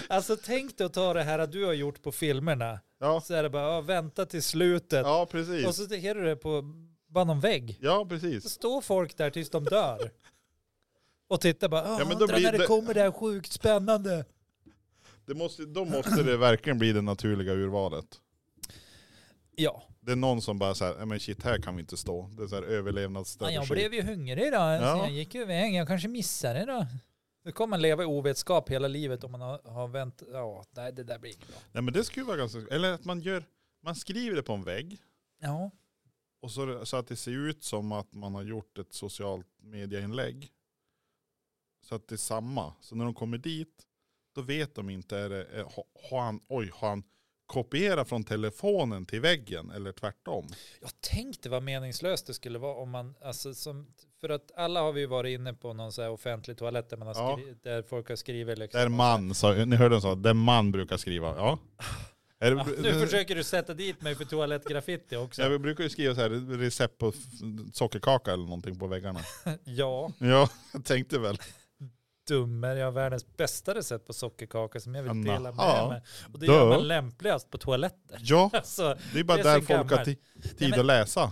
Alltså tänk dig att ta det här att du har gjort på filmerna. Ja, Så är det bara, ja, vänta till slutet. ja och precis. så ser du det på bara någon vägg. Ja, Så precis. står folk där tills de dör. Och tittar bara, ja, Ja, men men då undrar blir när det, det- kommer det här sjukt spännande. Det måste, då måste det verkligen bli det naturliga urvalet. Ja, Det är någon som bara så här, "Nej, men shit här kan vi inte stå. Det är så här men jag överlevnadsstrategi. blev ju hungrig då. Så Ja. jag gick ju iväg, jag kanske missade det då. Nu kommer man leva i ovetskap hela livet om man har, har vänt. Ja, nej det där blir inget bra. Nej men det skulle vara ganska, eller att man gör, man skriver det på en vägg. Ja, Och så, så att det ser ut som att man har gjort ett socialt medieinlägg. Så att det är samma. Så när de kommer dit, då vet de inte, är det, är, ha- har, han, oj, har han kopierat från telefonen till väggen eller tvärtom? jag tänkte vad meningslöst det skulle vara om man, alltså som, för att alla har vi ju varit inne på någon så här offentlig toalett där, man har Ja. skri- där folk har skrivit liksom. Där man, sa, ni hörde den sa, där man brukar skriva, ja. Är det, Ja, Ah, nu försöker du sätta dit mig för toalettgraffiti också. Ja, vi brukar ju skriva så här, recept på f- sockerkaka eller någonting på väggarna. Ja, Ja, jag tänkte väl. dummer. Jag har världens bästa recept på sockerkaka som jag vill Anna, dela med ja. mig. Och det Dö. gör man lämpligast på toaletter. Ja, Alltså, det är bara Det är där så folk har gammalt. ti- Nej, tid men- att läsa.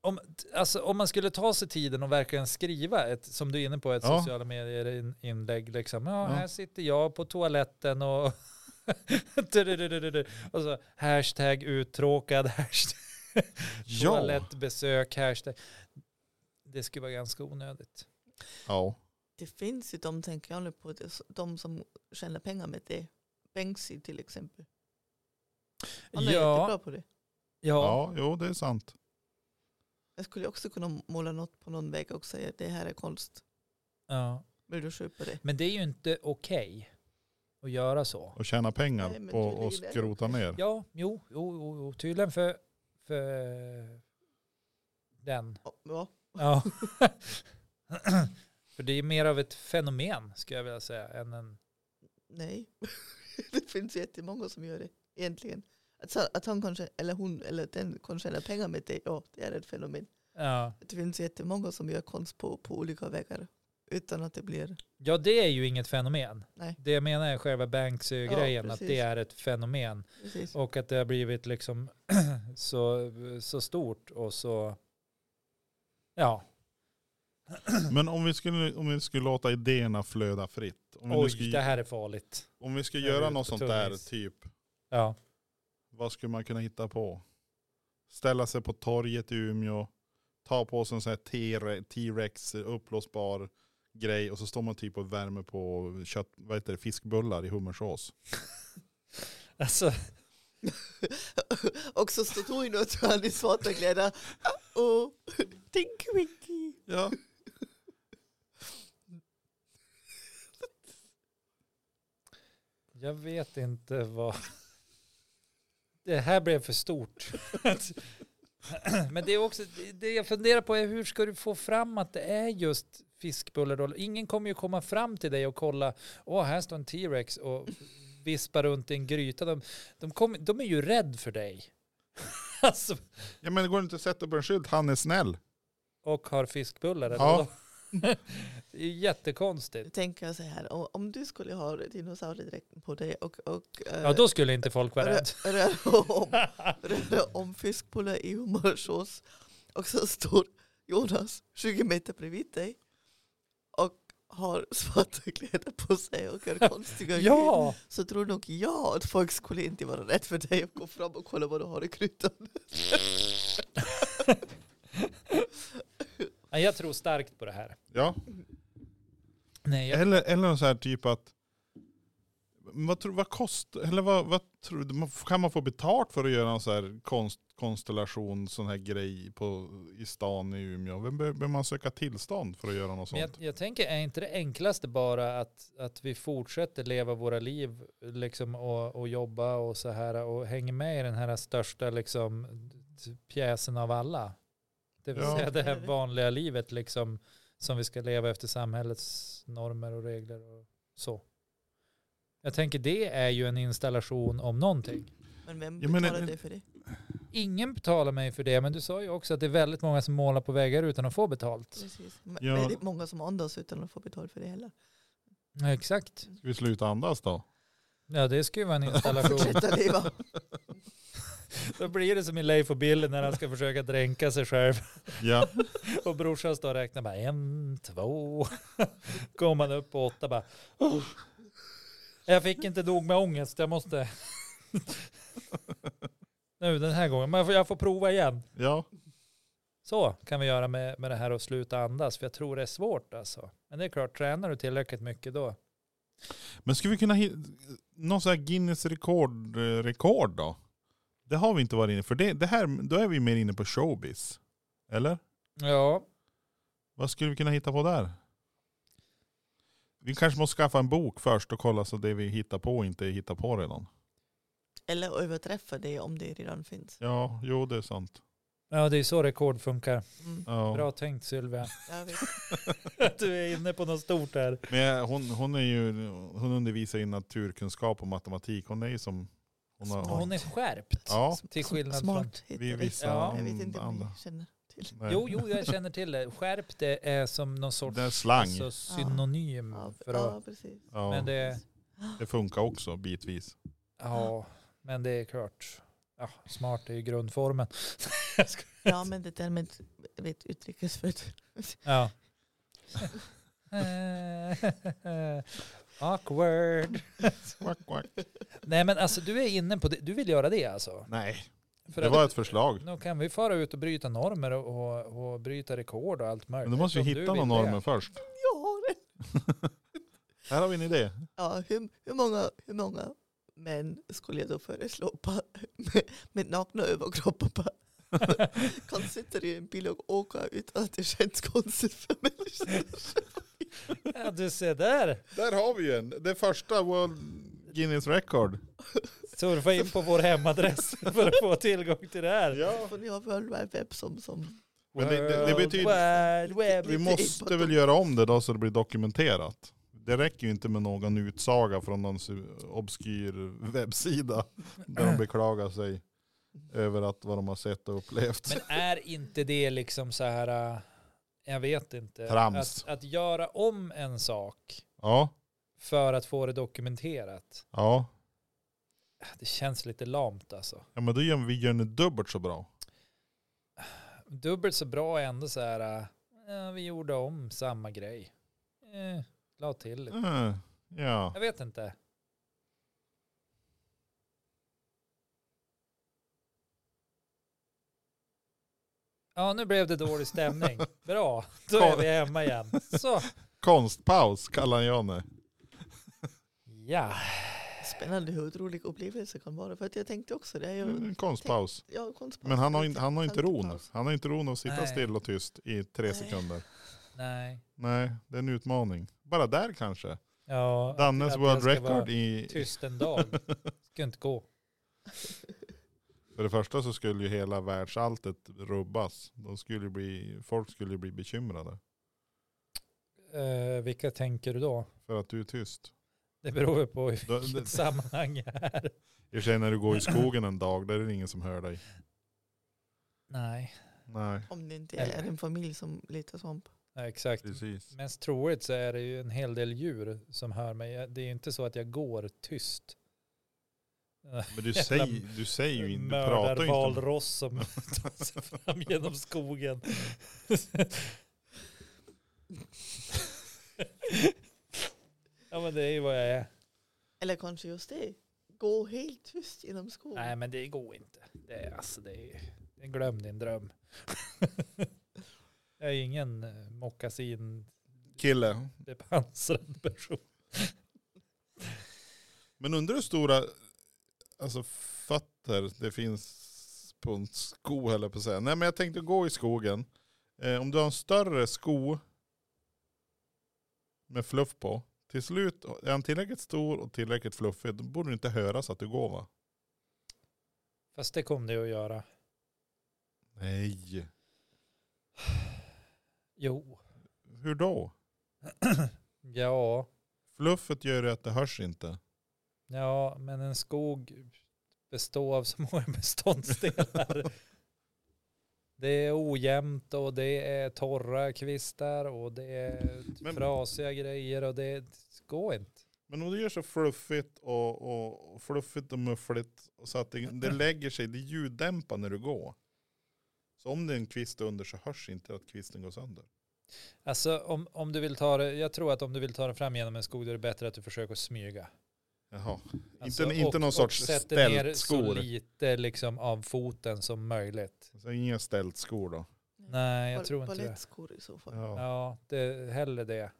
om, alltså, om man skulle ta sig tiden och verkligen skriva, ett, som du är inne på, ett Ja. sociala medier-inlägg, liksom, ja, Ja. här sitter jag på toaletten och, och så, hashtag uttråkad, hashtag Ja. toalettbesök, hashtag. Det skulle vara ganska onödigt. ja. Det finns ju de, tänker jag nu på, det- de som tjänar pengar med det. Benksi till exempel. Han är jättebra på det. ja, Ja, jo det är sant. Jag skulle också kunna måla något på någon vägg och säga att det här är konst. ja. Vill du köpa det? Men det är ju inte okej att göra så. Och tjäna pengar Nej, men på att tydligen är det skrota ner. Ja, jo, jo, jo, jo tydligen för, för den. Ja, Ja, Ja. för det är mer av ett fenomen skulle jag vilja säga än en... nej. det finns jättemånga som gör det egentligen. Att, så- att han kanske, eller hon, eller den kan tjäna pengar med det, ja det är ett fenomen. Ja. Det finns jättemånga som gör konst på, på olika vägar utan att det blir, ja, det är ju inget fenomen. Nej. Det jag menar är själva Banksy-grejen, Ja, att precis. det är ett fenomen. precis. Och att det har blivit liksom så, så stort och så... Ja, Men om vi, skulle, om vi skulle låta idéerna flöda fritt. Om vi, Mm, nu oj, det skulle, här är farligt. om vi skulle här är göra ute något på sånt tunn där, is. typ, Ja. vad skulle man kunna hitta på? Ställa sig på torget i Umeå, ta på sig en sån här T-re- T-rex uppblåsbar grej och så står man typ och värmer på kött, vad heter det, fiskbullar i hummersås. Alltså, Och så står du inne och tar han i svarta kläder. Oh, Tinky Winky. Ja. Jag vet inte vad... Det här blev för stort. Men det är också, det- det jag funderar på är hur ska du få fram att det är just fiskbullarroll? Ingen kommer ju komma fram till dig och kolla, åh här står en T-rex och vispar runt i en gryta. De, de, kommer- de är ju rädd för dig. Alltså, ja men det går inte att sätta upp en skylt, han är snäll. och har fiskbullar. eller Ja. vadå? Det är ju Nu jättekonstigt. tänker jag så här, om- om du skulle ha dinosauriedräkten på dig och, och eh, Ja, då skulle inte folk vara rö- rädda. röra om, röra om fiskbullar i hummersås och så står Jonas 20 meter bredvid dig och har svarta kläder på sig och gör konstiga grejer Ja! så tror nog jag att folk skulle inte vara rädda för dig och gå fram och kolla vad du har i grytan. Nej, Jag tror starkt på det här. Ja. Nej, jag, Eller, eller någon så här typ att, men vad, tror, vad kostar, eller vad, vad tror du, man- kan man få betalt för att göra en sån här konst, konstellation, sån här grej på, i stan i Umeå? Vem be- Behöver man söka tillstånd för att göra något Men jag, sånt? jag tänker, är inte det enklaste bara att, att vi fortsätter leva våra liv liksom, och, och jobba och så här och hänger med i den här största liksom, t- pjäsen av alla? Det vill Ja. säga det här vanliga livet liksom, som vi ska leva efter samhällets normer och regler och så. Jag tänker det är ju en installation om någonting. Men vem Ja, men- betalar dig för det? Ingen betalar mig för det, men du sa ju också att det är väldigt många som målar på väggar utan att få betalt. Precis. Men Ja. Väldigt många som andas utan att få betalt för det heller. Exakt. Ska vi sluta andas då? Ja, det ska ju vara en installation. Fortsätta leva. Då blir det som i Leif och Bill när han ska försöka dränka sig själv. Ja. Och brorsan står och räknar bara en, två. Kommer man upp på åtta bara. "Åh, Jag fick inte nog med ångest, jag måste. Nu den här gången, men jag får, jag får prova igen. Ja. Så kan vi göra med, med det här att sluta andas, för jag tror det är svårt alltså. Men det är klart, tränar du tillräckligt mycket då? Men skulle vi kunna hitta någon sån här Guinness rekord, eh, rekord då? Det har vi inte varit inne för det, det här, då är vi mer inne på showbiz. Eller? Ja, Vad skulle vi kunna hitta på där? Vi kanske måste skaffa en bok först och kolla så det vi hittar på inte hittar på redan. Eller överträffa det om det redan finns. Ja, jo det är sant. ja det är så rekord funkar. Mm. Bra Ja. tänkt Sylvia. Jag vet. Du är inne på något stort här. Men jag- hon, hon, är ju, hon undervisar i naturkunskap och matematik. Hon är ju som... Hon har, Hon är skärpt. ja, Till skillnad från... Smart hittar vi vi. vissa Ja. Jag vet inte om andra. ni känner till. Nej. Jo, jo, jag känner till det. Skärpt det är som någon sorts Det är slang. alltså, synonym. Ja, Mm, För att, Eh. ja, precis. Ja, men, det... det, funkar också bitvis. ja, men det är klart. Ja, smart är ju grundformen. Ja, men det där med jag vet, utrikesfödd. Ja. Awkward. Quack, quack. Nej men alltså du är inne på det. Du vill göra det alltså? Nej, För det att- var ett förslag. Nu kan vi fara ut och bryta normer och, och, och bryta rekord och allt möjligt. Men då måste vi om du hitta vill någon det. norm först. Jag har det. Här har vi en idé. Ja, hur, hur, många, hur många män skulle jag då föreslå på, med nakna överkroppar på? Kan sitta i en bil och åka utan att det känns konstigt för människor. Ja, du ser där. Där har vi ju en. Det första World Guinness Record. Surfa in på vår hemadress för att få tillgång till det här. Ja. För ni har World Wide Web som, som Men det- det- det World betyder- Wide Web. Vi måste väl göra om det då så det blir dokumenterat. Det räcker ju inte med någon utsaga från någon su- obskyr webbsida där de beklagar sig över att vad de har sett och upplevt. Men är inte det liksom så här, äh, jag vet inte. Trams. Att, att göra om en sak Ja, för att få det dokumenterat. ja. Det känns lite lamt alltså. ja men då gör vi gör den dubbelt så bra. Dubbelt så bra är ändå så här, äh, ja, vi gjorde om samma grej. Eh, la till lite. Mm, ja. Jag vet inte. Ja, nu blev det dålig stämning. Bra, då är vi hemma igen. Så, Konstpaus kallar jag det. ja. spännande hur otrolig upplevelse kan vara. För att jag tänkte också det. är ju- Mm, Konstpaus. Ja, konstpaus. Men han har, inte, han har inte ron. Tankepaus. Han har inte ron att sitta Nej. still och tyst i tre Nej. sekunder. Nej. Nej, det är en utmaning. Bara där kanske. Ja, att- att Dannes jag world ska record vara i... Tyst en dag. Ska inte gå. För det första så skulle ju hela världsalltet rubbas. De skulle ju bli, folk skulle ju bli bekymrade Eh, vilka tänker du då? för att du är tyst. Det beror ju på i Då- vilket det- sammanhang jag är. I och för sig när du går i skogen en dag, där är det ingen som hör dig. Nej, Nej, Om det inte är en familj som letar svamp. nej, exakt. precis. Mest troligt så är det ju en hel del djur som hör mig. Jag- Det är ju inte så att jag går tyst. Men du Jävla säger, du säger ju inte, du pratar ju inte. om- Mördarvalross som tar sig fram genom skogen. ja men det är ju vad jag är. Eller kanske just det. Gå helt tyst genom skogen. Nej men det går inte. Det är, alltså, det är, glöm din dröm. jag är ingen eh, mockasin Kille. bepansrad person. Men undrar hur stora alltså, fötter det finns på en sko höll jag på att säga. Nej men jag tänkte gå i skogen. Eh, om du har en större sko med fluff på. Till slut, är han tillräckligt stor och tillräckligt fluffig då borde det inte höras att du går va? Fast det kom det ju att göra. Nej. Jo. Hur då? Ja. Fluffet gör ju att det hörs inte. Ja, men en skog består av så många beståndsdelar. Det är ojämnt och det är torra kvistar och det är Men- frasiga grejer och det går inte. Men om du gör så fluffigt och, och, och fluffigt och muffligt så att det, det lägger sig, det ljuddämpar när du går. Så om det är en kvist under så hörs inte att kvisten går sönder. Alltså om, om du vill ta det, jag tror att om du vill ta det fram genom en skog då är det bättre att du försöker smyga. Jaha. Alltså, inte inte någon sorts sätter ner så steltskor. lite liksom av foten som möjligt. Så inga steltskor då. Nej, jag Bal- tror inte det. Balettskor i så fall. Ja. Ja, det, hellre det.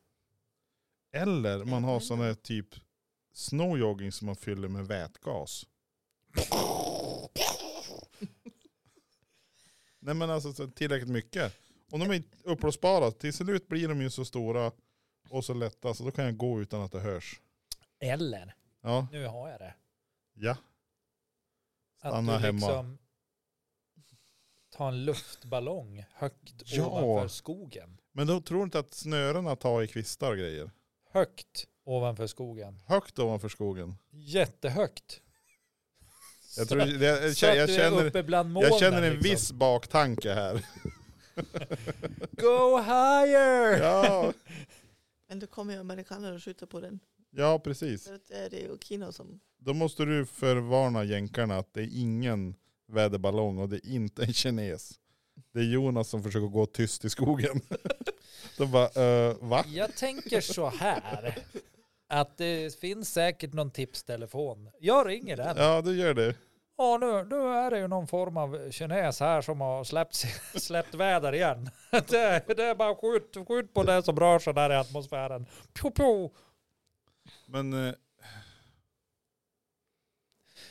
Eller man har Eller- sådana här typ snowjogging som man fyller med vätgas. Nej men alltså så tillräckligt mycket. Om de är uppblåsbara, till slut blir de ju så stora och så lätta så då kan jag gå utan att det hörs. Eller, Ja, nu har jag det. ja. Att Stanna du hemma. liksom tar en luftballong högt Ja. ovanför skogen. Men då tror du inte att snörena tar i kvistar och grejer? Högt ovanför skogen. Högt ovanför skogen. Jättehögt. Jag, tror, jag, jag, så att jag, du är känner, uppe bland molnen. jag känner en liksom. viss baktanke här. Go higher! Ja, Men då kommer ju amerikaner och skjuter på den. ja precis. Så att är det ju Kina som... Då måste du förvarna jänkarna att det är ingen väderballong och det är inte en kines. Det är Jonas som försöker gå tyst i skogen. De bara, äh, va? Jag tänker så här. Att det finns säkert någon tipstelefon. Jag ringer den. Ja, du gör det. Ja, nu, nu är det ju någon form av kines här som har släppt, släppt väder igen. Det, det är bara skjut, skjut på det som rör sig där i atmosfären. Pju, pju. Men eh,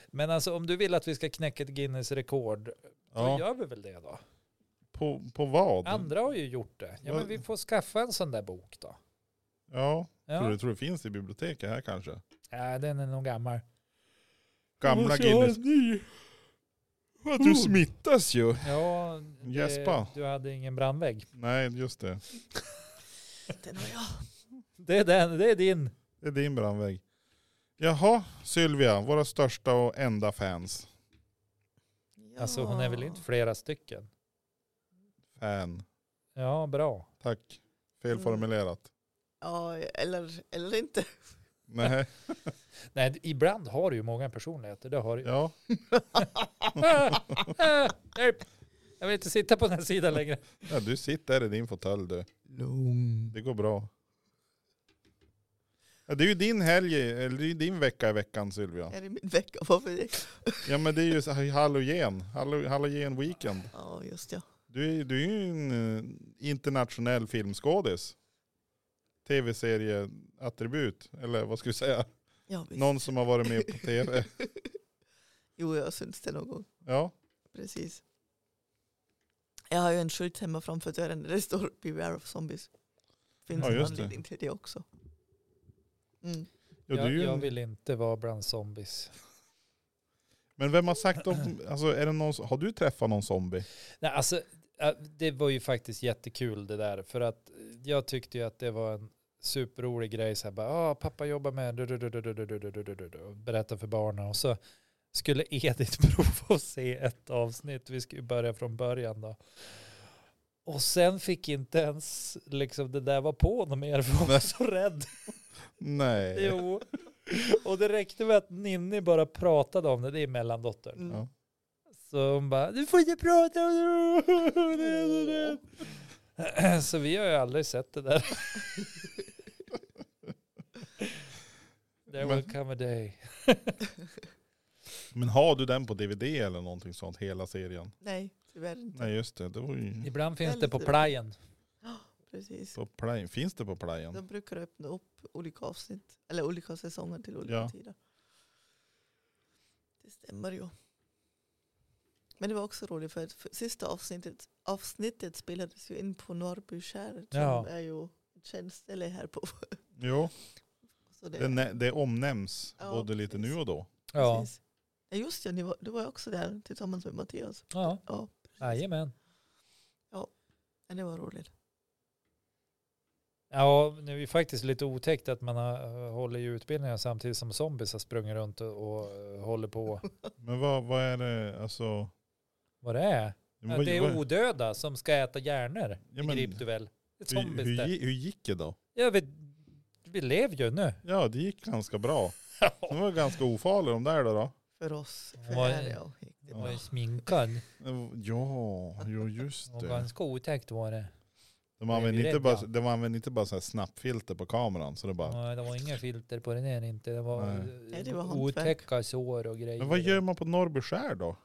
Men alltså om du vill att vi ska knäcka ett Guinness rekord, då ja, gör vi väl det då? på, på vad? Andra har ju gjort det. Ja, men vi får skaffa en sån där bok då. Ja, tror Ja. du tror det finns i biblioteket här kanske? Ja, den är nog gammal. Gamla Guinness. Vad, Du smittas ju. Ja, Gäspa. det, du hade ingen brandvägg. Nej, just det. Den har jag. Det är, den, det är din. Det är din brandvägg. Jaha, Sylvia, våra största och enda fans. Ja. Alltså hon är väl inte flera stycken? Fan. Ja, bra. Tack. Felformulerat. Ja, eller, eller inte. Nej. Nej, ibland har du ju många personligheter. Det har du ju. Ja, Ah, hjälp. Jag vill inte sitta på den här sidan längre. ja du sitter i din fåtölj du. Lugn. Det går bra. Ja, det är ju din helg, eller det är ju din vecka i veckan Sylvia. Är det min vecka? Varför det? Ja men det är ju så här halogen, hallo, halogen weekend. Ja, just ja. Du är, du är ju en eh, internationell filmskådis. Tv-serieattribut, eller vad ska vi säga? ja visst. Någon som har varit med på tv. Jo, jag har synts det någon gång. Ja, Precis. Jag har ju en skylt hemma framför dörren där det står Beware of Zombies. Finns Ja, en just anledning till det också. Mm. ja, du är jag, ju jag en, vill inte vara bland zombies. men vem har sagt om, alltså är det någon, som- har du träffat någon zombie? Nej, alltså, äh, det var ju faktiskt jättekul det där. För att jag tyckte ju att det var en superrolig grej. Så här, bara, ah, pappa jobbar med... du- du- du- du- du- du- du- du- du- du- du- du", och Berätta för barnen. Och så skulle Edith prova att se ett avsnitt. Vi skulle ju börja från början då. Och sen fick inte ens liksom, det där var på honom mer för hon var så rädd. Nej. Jo. Och det räckte med att Ninni bara pratade om det, det är mellandottern. Mm. Ja. Så hon bara, du får inte prata om det. det. är så rätt." Så vi har ju aldrig sett det där. There Men- will come a day. Men har du den på DVD eller någonting sånt, hela serien? Nej, tyvärr inte. Nej just det, det var ju Ibland finns det på Väldigt- playen. Precis. på play. Finns det på De playen? brukar öppna upp olika avsnitt, eller olika säsonger till olika Ja. tider. Det stämmer ju. Men det var också roligt för att för- sista avsnittet, avsnittet spelades ju in på Norrbyskär Ja. som är ju ett känt ställe här på. Jo, Så det, det, nä- det omnämns Ja, både lite precis. nu och då. Ja, precis. Ja, just det, ni var, du var ju också där tillsammans med Mattias. ja. Ja, jajamän. men det var roligt. Ja, nu är det faktiskt lite otäckt att man har, eh, håller i utbildningar samtidigt som zombies har sprungit runt och, och eh, håller på Men vad, vad är det, alltså, vad det är. Ja, det är odöda som ska äta hjärnor. Ja, men- Begrip du väl? Det är hur, zombies hur, där. gi- hur gick det då? Ja, vi, vi lever ju nu. Ja, det gick ganska bra. De var ganska ofarliga de där då. då. För oss. För Vad- här, ja. gick det Den var bra. ju sminkad. Ja, jo just Och det. ganska otäckt var det. De blev använde vi inte bara, rädda. de använde inte bara så här snappfilter på kameran. Så det bara, Nej, det var inga filter på den här inte. Det var, Nej. eh, Nej, det var hantverk. otäcka sår och grejer. men vad gör man på Norrby skär då?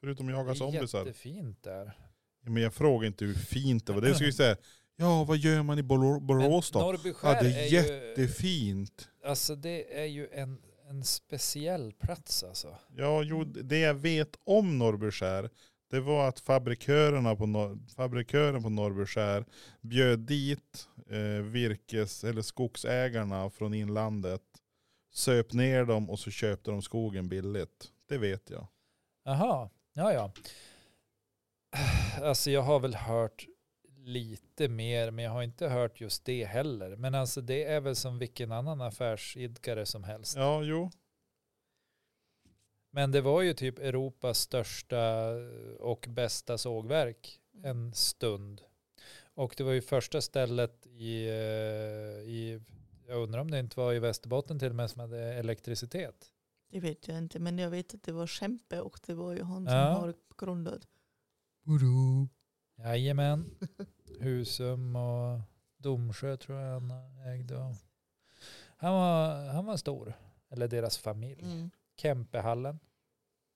Förutom Det jaga är zombisar. jättefint där. Ja, Men jag frågar inte hur fint det var. Det skulle jag säga, ja vad gör man i Borå- Men Borås då? Norrby skär Ja, det är är ju, jättefint. alltså det är ju en, en speciell plats alltså. Ja, jo, det jag vet om Norrby skär, det var att fabrikörerna på Nor- fabrikören på Norrby skär bjöd dit eh, virkes eller skogsägarna från inlandet, söp ner dem och så köpte de skogen billigt. Det vet jag. Jaha, ja ja. Alltså jag har väl hört lite mer, men jag har inte hört just det heller. Men alltså det är väl som vilken annan affärsidkare som helst. Ja, jo. Men det var ju typ Europas största och bästa sågverk en stund. Och det var ju första stället i, eh, i jag undrar om det inte var i Västerbotten till och med som hade elektricitet. Det vet jag inte, men jag vet att det var Kämpe och det var ju han som Ja. har grundat. Jajamän. Husum och Domsjö tror jag han ägde. och- Han var, han var stor. Eller deras familj. Mm. Kempehallen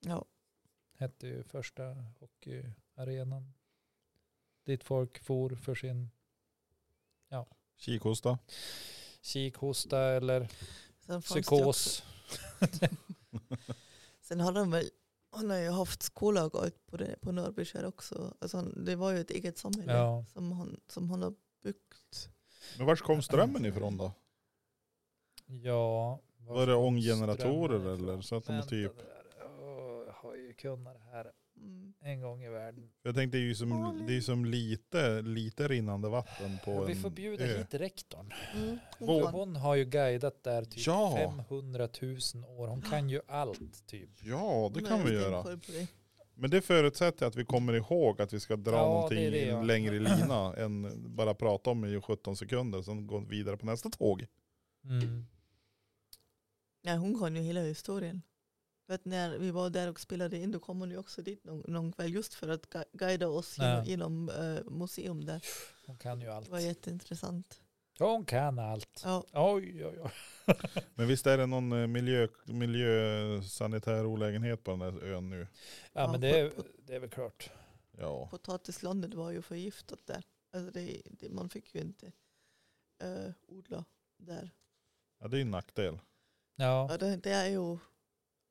Ja, hette ju första hockeyarenan. Dit folk for för sin Kikhosta. kikhosta eller sen fanns det ju också- psykos. Sen har de väl, han har ju haft skolagat på, det- på Norrbyskär också. Alltså, han- det var ju ett eget samhälle Ja. som, han, som han har byggt. Men var kom strömmen ifrån då? Ja. var Var det kom ånggeneratorer strömmen ifrån? eller? Så att de Vänta typ, där. Åh, Jag har ju kunnat det här Mm. en gång i världen. jag tänkte det är ju som, Malin. det är som lite, lite rinnande vatten på Ja, vi en får bjuda ö. hit rektorn. Mm. Vår- Hon var- Hon har ju guidat där typ Ja. 500 000 år. Hon kan ju allt typ. Ja, det hon kan har vi ju göra. stenkoll på det. Men det förutsätter att vi kommer ihåg att vi ska dra Ja, någonting det är det, ja. längre i lina än bara prata om i 17 sekunder. Sen gå vidare på nästa tåg. Mm. Nej, hon kan ju hela historien. För att när vi var där och spelade in, då kom hon ju också dit någon, någon kväll just för att gu- guida oss Ja. genom, genom eh, museum där. Hon kan ju allt. Det var jätteintressant. Ja, hon kan allt. Ja, Oj, oj, oj. Men visst är det någon eh, miljö, miljösanitär olägenhet på den där ön nu? Ja, men Ja, det är, på- på- det är väl klart. Ja. potatislandet var ju förgiftat där. Alltså det, det, man fick ju inte eh, odla där. ja, det är ju en nackdel. Ja, Ja, det, det är ju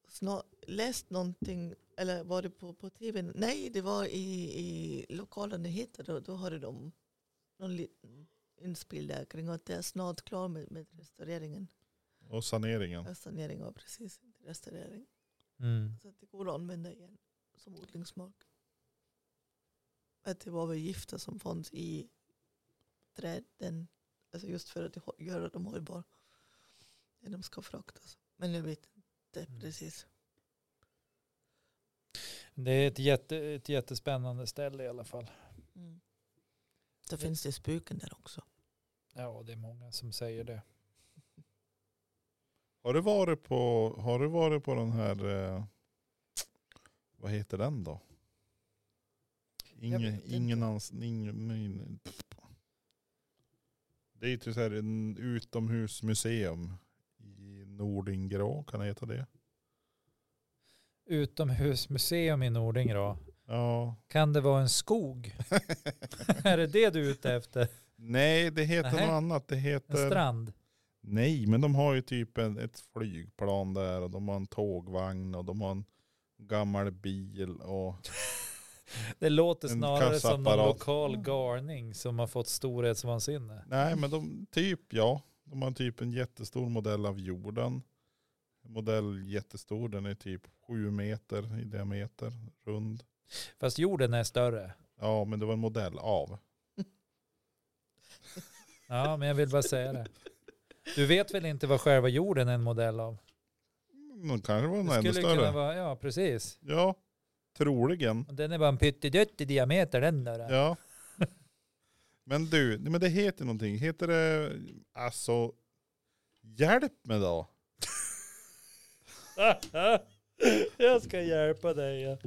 snar, läst någonting, eller var det på, på tv? Nej, det var i, i lokala nyheter. Då, då hade de någon liten inspel där kring att det är snart klar med, med restaureringen. Och saneringen. Ja. Sanering var precis inte restaurering. mm. Så att det går att använda igen som odlingsmark. Att det var väl gifter som fanns i träden. Alltså just för att det hå- göra dem hållbara. När de ska fraktas. Men jag vet inte Mm. precis. det är ett, jätte, ett jättespännande ställe i alla fall. Mm. Då finns det spöken där också. Ja, det är många som säger det. Har du varit på, har du varit på den här, eh, vad heter den då? Jag Ingen, vet inte. ingen ans, ingen, ingen, det är ju typ så här en utomhusmuseum i Nordingrå, kan det heta det? Utomhusmuseum i Nording då. Ja. Kan det vara en skog? är det det du är ute efter? Nej, det heter Nähä. något annat. Det En heter... strand? Nej, men de har ju typ en, ett flygplan där och de har en tågvagn och de har en gammal bil och Det låter En snarare som någon kassaapparat. lokal garning som har fått storhetsvansinne. Nej, men de typ ja. De har typ en jättestor modell av jorden. En Modell jättestor, den är typ sju meter i diameter, rund. Fast jorden är större. Ja, men det var en modell av. Ja, men jag vill bara säga det. Du vet väl inte vad själva jorden är en modell av? De kanske var en Det ännu skulle kunna större. vara, ja precis. Ja, Troligen. Och Den är bara en pyttidutt i diameter den där. Ja. Men du, nej, men det heter någonting. Heter det, alltså, hjälp mig då. Jag ska hjälpa dig. ja.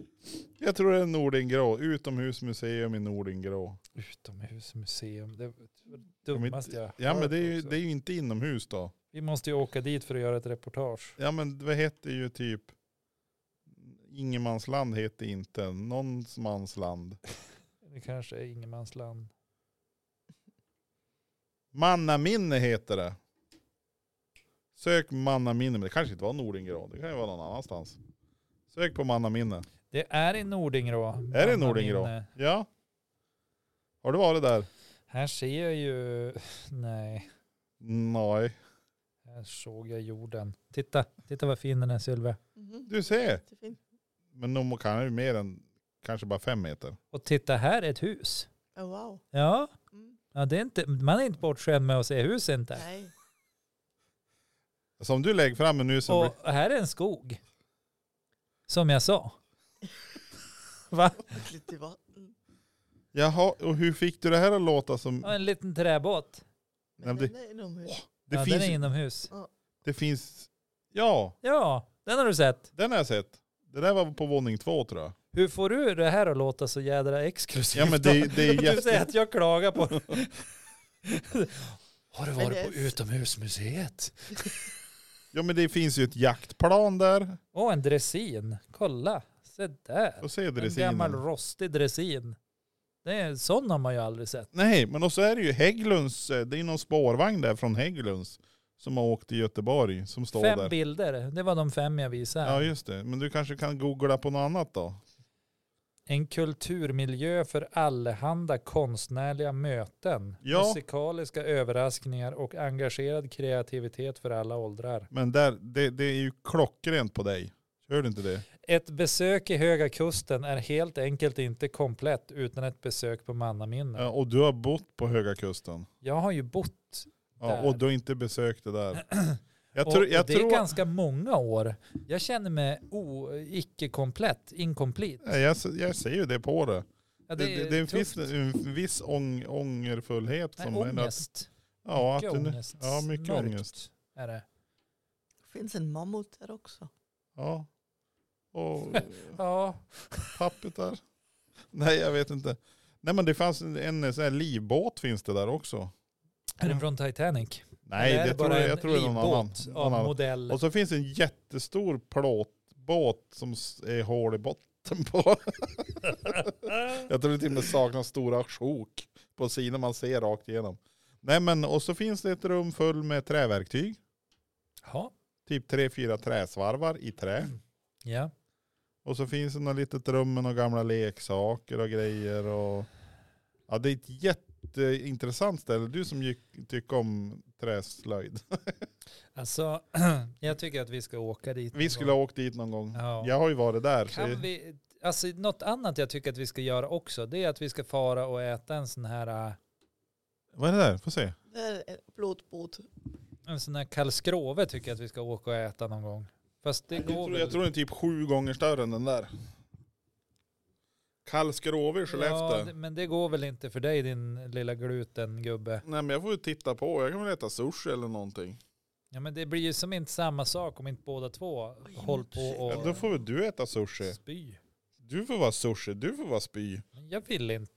Jag tror det är Nordingrå, utomhusmuseum i Nordingrå. Utomhusmuseum, det är det men- dummaste jag Ja men hört det är, ju, också. det är ju inte inomhus då. Vi måste ju åka dit för att göra ett reportage. Ja men vad heter ju typ, Ingemansland heter inte, någons mansland. Det kanske är ingenmansland. Mannaminne heter det. Sök mannaminne, men det kanske inte var Nordingrå, det kan ju vara någon annanstans. Sök på mannaminne. Det är i Nordingrå. Är det Nordingrå? Mannaminne. Ja. Har du varit där? Här ser jag ju, nej, Nej. här såg jag jorden. Titta, titta vad fin den är Sylvia. Mhm. Du ser. Det är fint. Men de kan ju mer än kanske bara fem meter. Och titta här är ett hus. Oh, wow. Ja, Mm. ja det är inte, man är inte bortskämd med att se husen där. Nej. Som du lägger fram nu så Och här är en skog. Som jag sa. Va? Lite mm. vatten. blir... Jaha, och hur fick du det här att låta som... Ja, en liten träbåt. Nej, Men men den är inomhus. Det, ja, finns, Den är inomhus. det finns... Ja, Ja, den har du sett. den har jag sett. Det där var på våning två tror jag. Hur får du det här att låta så jädra exklusivt? Ja men det, det är då? Du säger jätte... att jag klagar på det. Har du Men det varit är- på utomhusmuseet? Ja men det finns ju ett jaktplan där. Åh, en dressin. Kolla, se där. Och se En gammal dressinen. rostig dressin. Det är, sån har man ju aldrig sett. Nej, men och så är det ju Hägglunds. eh, Det är ju någon spårvagn där från Hägglunds. Som har åkt till Göteborg. Som står Fem där. bilder, det var de fem jag visade. Ja just det. Men du kanske kan googla på något annat då? En kulturmiljö för allehanda konstnärliga möten, Ja. musikaliska överraskningar och engagerad kreativitet för alla åldrar. Men där, det, det är ju klockrent på dig. Kör du inte det? Ett besök i Höga Kusten är helt enkelt inte komplett utan ett besök på Mannaminne. Ja, och du har bott på Höga Kusten. Jag har ju bott, Ja, Där. och du har inte besökt det där. Jag och, tror, och jag det tror, är ganska många år. Jag känner mig o, icke-komplett, inkomplett. Nej, jag, se- jag ser ju det på det. Ja, det, det, det är en tufft. viss, en viss ång, ångerfullhet. Nej, Som en att, ångest. ja, Mycket att du, nu- ångest. ja, mycket Mörkt ångest. Är det. finns en mammut där också. Ja. Och Ja, pappetar. Nej, jag vet inte. Nej, men det fanns en, en sån här livbåt finns det där också. är den från Titanic? Nej, Eller är det det bara tror jag, en jag tror det är någon annan. livbåt Någon av annan. modell. Och så finns en jättestor plåtbåt som s- är hål i botten på. jag tror det till och med saknas stora sjok på sidan man ser rakt igenom. Nej men och så finns det ett rum full med träverktyg. Ja. Typ tre, fyra träsvarvar i trä. ja. Och så finns det något litet rum med några gamla leksaker och grejer. Och... Ja det är ett jätteintressant ställe. Du som gick- tycker om träslöjd. Alltså, jag tycker att vi ska åka dit. Vi någon skulle gång. ha åkt dit någon gång. Ja. Jag har ju varit där. så- Kan vi, alltså, något annat jag tycker att vi ska göra också, det är att vi ska fara och äta en sån här, äh, Vad är det där? Får se. Det är en plåtbåt. en sån här kalskrove tycker jag att vi ska åka och äta någon gång. Fast det Jag går tror, väl. jag tror den är typ sju gånger större än den där. Karlskrove i Skellefteå. Ja, det- men det går väl inte för dig din lilla glutengubbe. Nej men jag får ju titta på. Jag kan väl äta sushi eller någonting. Ja men det blir ju som inte samma sak om inte båda två Oj, håller på men Ja, då och får väl du äta sushi. spy. Du får vara sushi, du får vara spy. Men jag vill inte.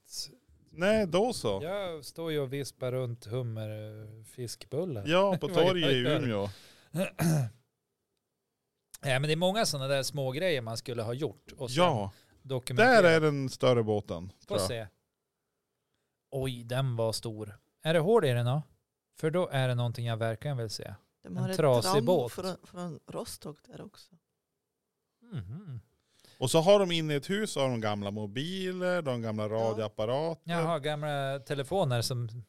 Nej då så. Ja, Jag står ju och vispar runt äh, hummerfiskbullar. på Vad jag torget i gör. Umeå. Nej, men det är många sådana där små grejer man skulle ha gjort och sen Ja, dokumentera. där är den större båten. Få Tror jag. se. Oj, den var stor. Är det hål i den då? För då är det någonting jag verkligen vill se. De har En ett trasig tram båt. Från, från Rostock där också. Mhm. Och så har de inne i ett hus så har de gamla mobiler, de gamla radioapparater. Jaha, gamla telefoner som...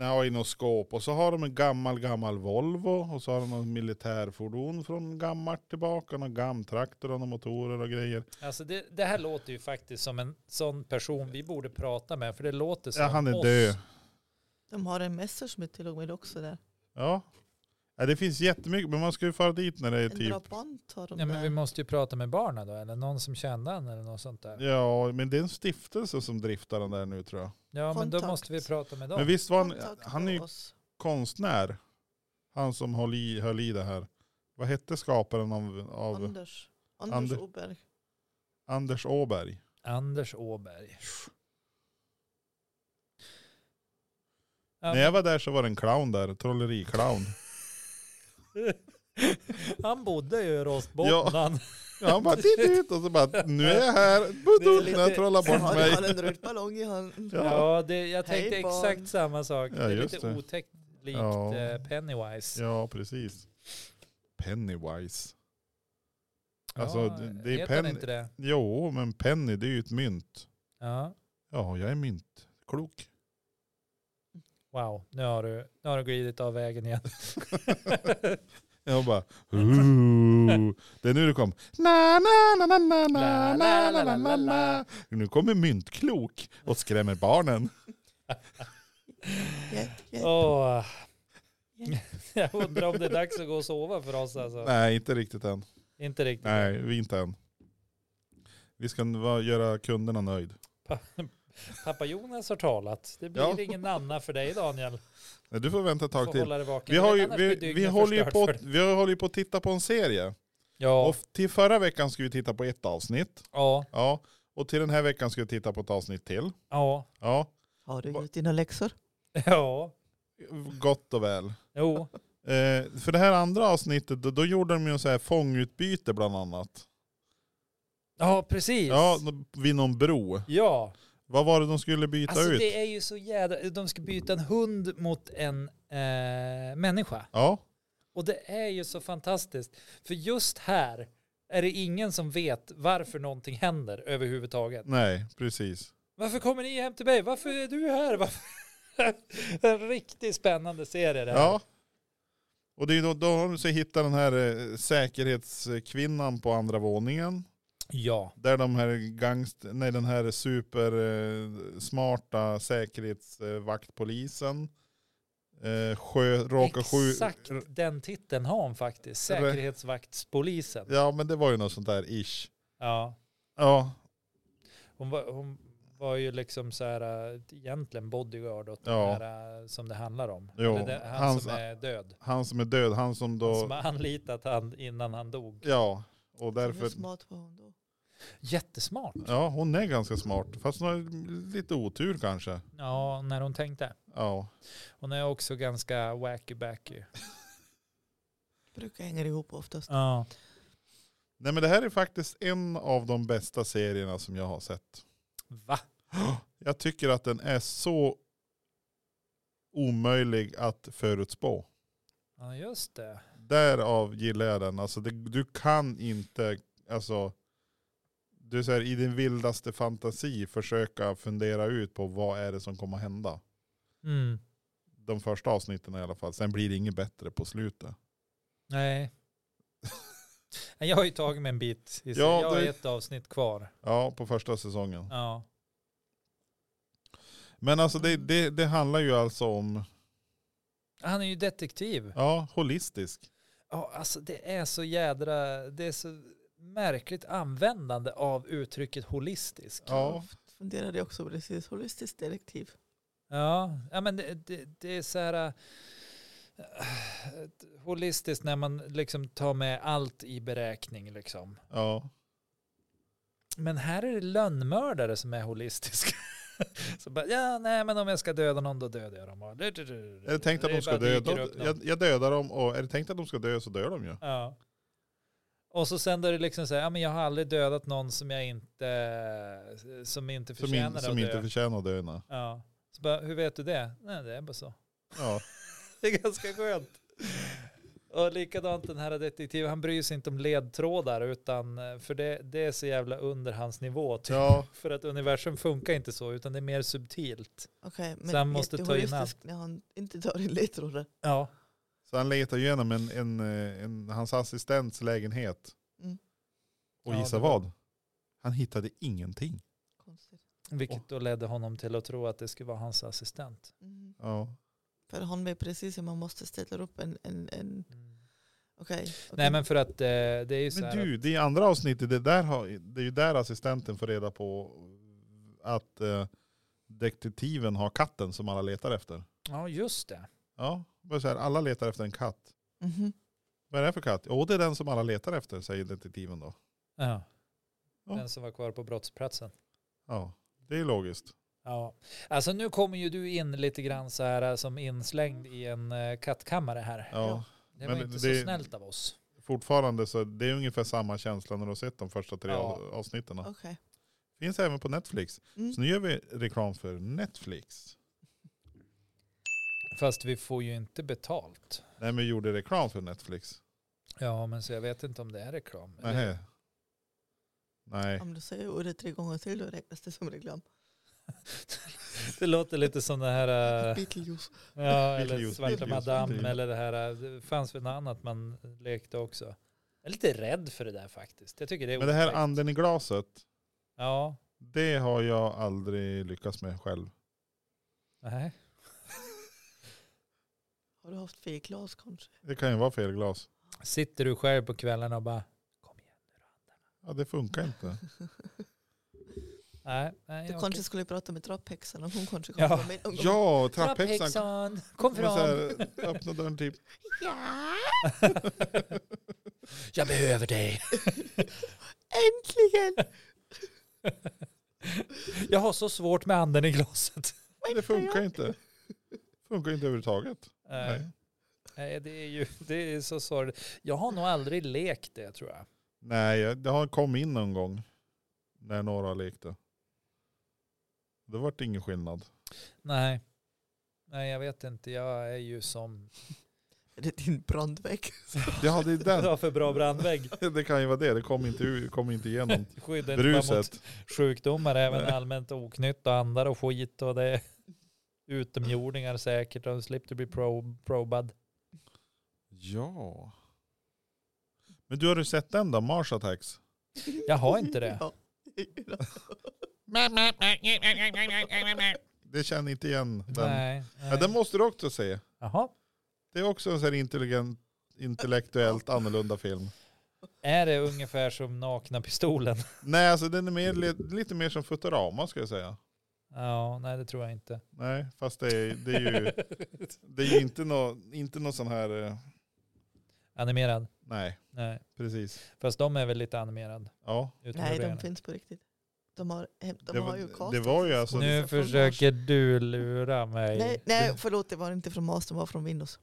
Ja, i något skåp. Och så har de en gammal, gammal Volvo. Och så har de någon militärfordon från gammalt tillbaka. Någon gammtraktor och några motorer och grejer. Alltså det, det här låter ju faktiskt som en sån person vi borde prata med, för det låter som Ja, han är oss. död. De har en Messerschmitt till och med också där. Ja. Ja, det finns jättemycket, men man ska ju fara dit när det är En typ... drabant har de Ja, men vi där. måste ju prata med barnen då, eller någon som kände han eller något sånt där. Ja, men det är en stiftelse som driftar den där nu tror jag. Ja, men då Kontakt. måste vi prata med dem. Men visst var han, Kontakta han är ju oss. konstnär. Han som höll i, höll i det här. Vad hette skaparen av, av Anders. Anders Ander- Oberg. Anders Åberg? Anders Åberg. Ja, När jag var där så var det en clown där, trollericlown. Han bodde ju i Rostbotten. Ja. Han, Ja, han bara dit, dit och så bara nu är jag här, är budut, lite- när jag trollar Han bort har mig. han en rutballong i handen. Ja. ja, det, jag Hej, tänkte barn. exakt samma sak. det Ja, är just lite det. otäckt likt Ja. eh, Pennywise. ja, precis. Pennywise. Ja, Alltså, det- det är heter han Penny- inte det? Jo, men penny det är ju ett mynt. Ja. Ja, jag är myntklok. Wow, nu har, du, nu har du glidit av vägen igen. Jag bara, "Ooh." det är nu det kom. Na, na, na, na, na, na, na, na, na, na, na. Nu kommer myntklok och skrämmer barnen. Yeah, yeah. Åh. Jag undrar om det är dags att gå och sova för oss alltså. Nej, inte riktigt än. Inte riktigt. Nej, vi inte än. Vi ska va- göra kunderna nöjd. Pappa Jonas har talat. Det blir Ja. ingen Anna för dig Daniel. Nej, Du får vänta ett Du tag får till. hålla dig vaken. Vi, har ju, Annars blir vi, dygnet vi, håller ju förstört på, för dig. vi håller ju på att titta på en serie. Ja, Och till förra veckan skulle vi titta på ett avsnitt. ja, Ja. Och till den här veckan ska vi titta på ett avsnitt till. ja, Ja. Har du Va- gjort dina läxor? ja. Gott och väl. Jo, Eh, för det här andra avsnittet, då, då gjorde de ju så här fångutbyte bland annat. ja precis. Ja, då- vid någon bro. ja. Vad var det de skulle byta Alltså ut? det är ju så jädra, de ska byta en hund mot en eh, människa. Ja, Och det är ju så fantastiskt. För just här är det ingen som vet varför någonting händer överhuvudtaget. nej, precis. Varför kommer ni hem till mig? Varför är du här? Varför? en riktigt spännande serie det här. Ja. Och det är ju då, då har de så hittat den här eh, säkerhetskvinnan på andra våningen. ja. Där de här gangst, nej den här supersmarta eh, smarta säkerhetsvaktpolisen eh, sjö, råkar Exakt skjuta. den titeln har hon faktiskt. Eller- Säkerhetsvaktspolisen. Ja. Ja men det var ju något sånt där ish. Ja, Hon, var, hon var ju liksom så här äh, egentligen bodyguard åt Ja. den här äh, som det handlar om. Jo, Eller det, han hans- som är död. han som är död, han som då, Han som har anlitat han innan han dog. ja. Och Hur därför, smart var hon då? Jättesmart. ja hon är ganska smart. Fast hon har lite otur kanske. Ja, när hon tänkte. Ja, Hon är också ganska wacky-backy. Brukar hänga ihop oftast. Ja. nej men det här är faktiskt en av de bästa serierna som jag har sett. Va? Jag tycker att den är så omöjlig att förutspå. Ja, just det. Därav gillar jag den. Alltså det, du kan inte, alltså, du säger i din vildaste fantasi försöka fundera ut på vad är det som kommer att hända. Mm. De första avsnitten i alla fall. Sen blir det inget bättre på slutet. Nej. Nej, Jag har ju tagit mig en bit. I Ja, ja, jag har det- ett avsnitt kvar. Ja, på första säsongen. Ja. Men alltså det, det, det handlar ju alltså om, Han är ju detektiv. ja, holistisk. Ja, alltså det är så jädra, det är så märkligt användande av uttrycket holistisk. Ja, Funderade jag också på precis. Holistiskt direktiv. Ja, ja men det, det, det är så här äh, holistiskt när man liksom tar med allt i beräkning liksom. ja. Men här är det lönnmördare som är holistiska. Så bara, ja, nej, men om jag ska döda någon då dödar jag dem. bara. Det Är det tänkt att de ska bara dö, dyker då, upp någon. jag, jag dödar dem och är det tänkt att de ska dö så dör de ju. Ja. Och så sen då är det liksom så här, ja men jag har aldrig dödat någon som jag inte, som inte Som, in, förtjänar som att dö. inte förtjänar att dö. nej. ja. Så bara, hur vet du det? Nej, det är bara så. Ja. Det är ganska skönt. Och likadant den här detektiven, han bryr sig inte om ledtrådar utan, eh, för det, det är så jävla under hans nivå typ. ja. För att universum funkar inte så, utan det är mer subtilt. Okej, Så han men måste ta in jätteholistiskt när han inte tar in ledtrådar. Ja. Så han letar igenom en, en, eh, en, hans assistents lägenhet. Mm. Och Ja, gissa det var- vad? Han hittade ingenting. Konstigt. Vilket då ledde honom till att tro att det skulle vara hans assistent. Mm. Ja. För han vet precis hur man måste ställa upp en... en, en Mm. Okej. okej. Nej men för att eh, det är ju så Men här du, det andra avsnittet, det, där har, det är ju där assistenten får reda på att eh, detektiven har katten som alla letar efter. att- Ja just det. Ja, bara så här, alla letar efter en katt. Mhm. Vad är det för katt? Jo, det är den som alla letar efter, säger detektiven då. Ja. Ja. Den som var kvar på brottsplatsen. Ja, det är ju logiskt. Ja, alltså nu kommer ju du in lite grann så här eh, som inslängd i en eh, kattkammare här. Ja, Ja. Det men var inte det- så snällt av oss. Fortfarande så det är ungefär samma känsla när du har sett de första tre Ja. av- avsnitten. Okej. Finns även på Netflix. Mm. Så nu gör vi reklam för Netflix. Fast vi får ju inte betalt. Nej men vi gjorde reklam för Netflix. Ja, men så jag vet inte om det är reklam. Nej. Nej. Om du säger ordet tre gånger till då räknas det som reklam. Det låter lite som det här, eh, Beetlejuice. ja, eller Beetlejuice, Svarta Beetlejuice, Madame Beetlejuice. eller det här, eh, det fanns väl något annat man lekte också. Jag är lite rädd för det där faktiskt. Jag tycker det är Men det här otäckt. anden i glaset, Ja, det har jag aldrig lyckats med själv. nej. Har du haft fel glas kanske? Det kan ju vara fel glas. Sitter du själv på kvällarna och bara, kom igen nu då. Ja, det funkar inte. Nej, nej. Du okej. kanske skulle prata med trapphäxan om hon kanske Ja. kommer med någon gång. Ja, trapphäxan. Trapphäxan, kom Men så här, fram. Öppna dörren typ. Ja, Jag behöver dig. äntligen! Jag har så svårt med anden i glaset. Det funkar inte. Funkar inte överhuvudtaget. Nej. Nej, det är ju det är så sorgligt. Jag har nog aldrig lekt det tror jag. Nej, jag- det har kommit in någon gång när några lekte. Det vart ingen skillnad. Nej. Nej, jag vet inte. Jag är ju som... Är det din brandvägg? Ja, det, är Jag den. har för bra brandvägg. det kan ju vara det, det kom inte, ur- kom inte igenom. Skyddar inte bara mot Bruset. sjukdomar, även Nej. allmänt oknytt och andar och skit och det är utomjordingar säkert och slipper bli pro, probad. Ja. Men du har du sett den då, Mars Attacks? Jag har inte det. Ja. Det känner inte igen den. Nej. Ja, den nej. måste du också se. Jaha. Det är också en sån här intelligent, intellektuellt annorlunda film. Är det ungefär som nakna pistolen? Nej, alltså den är mer, li- lite mer som Futurama ska jag säga. Ja, nej det tror jag inte. Nej, fast det är, det är ju, det är ju inte någon inte nå sån här... eh, Animerad? Nej, Nej. precis. Fast de är väl lite animerad? Ja, utom Nej, de revierna. finns på riktigt. De har, hem- de det, har ju var- castat. det var ju alltså... Nu från försöker du lura mig. Nej, nej, förlåt, det var inte från Mars, de var från Windows.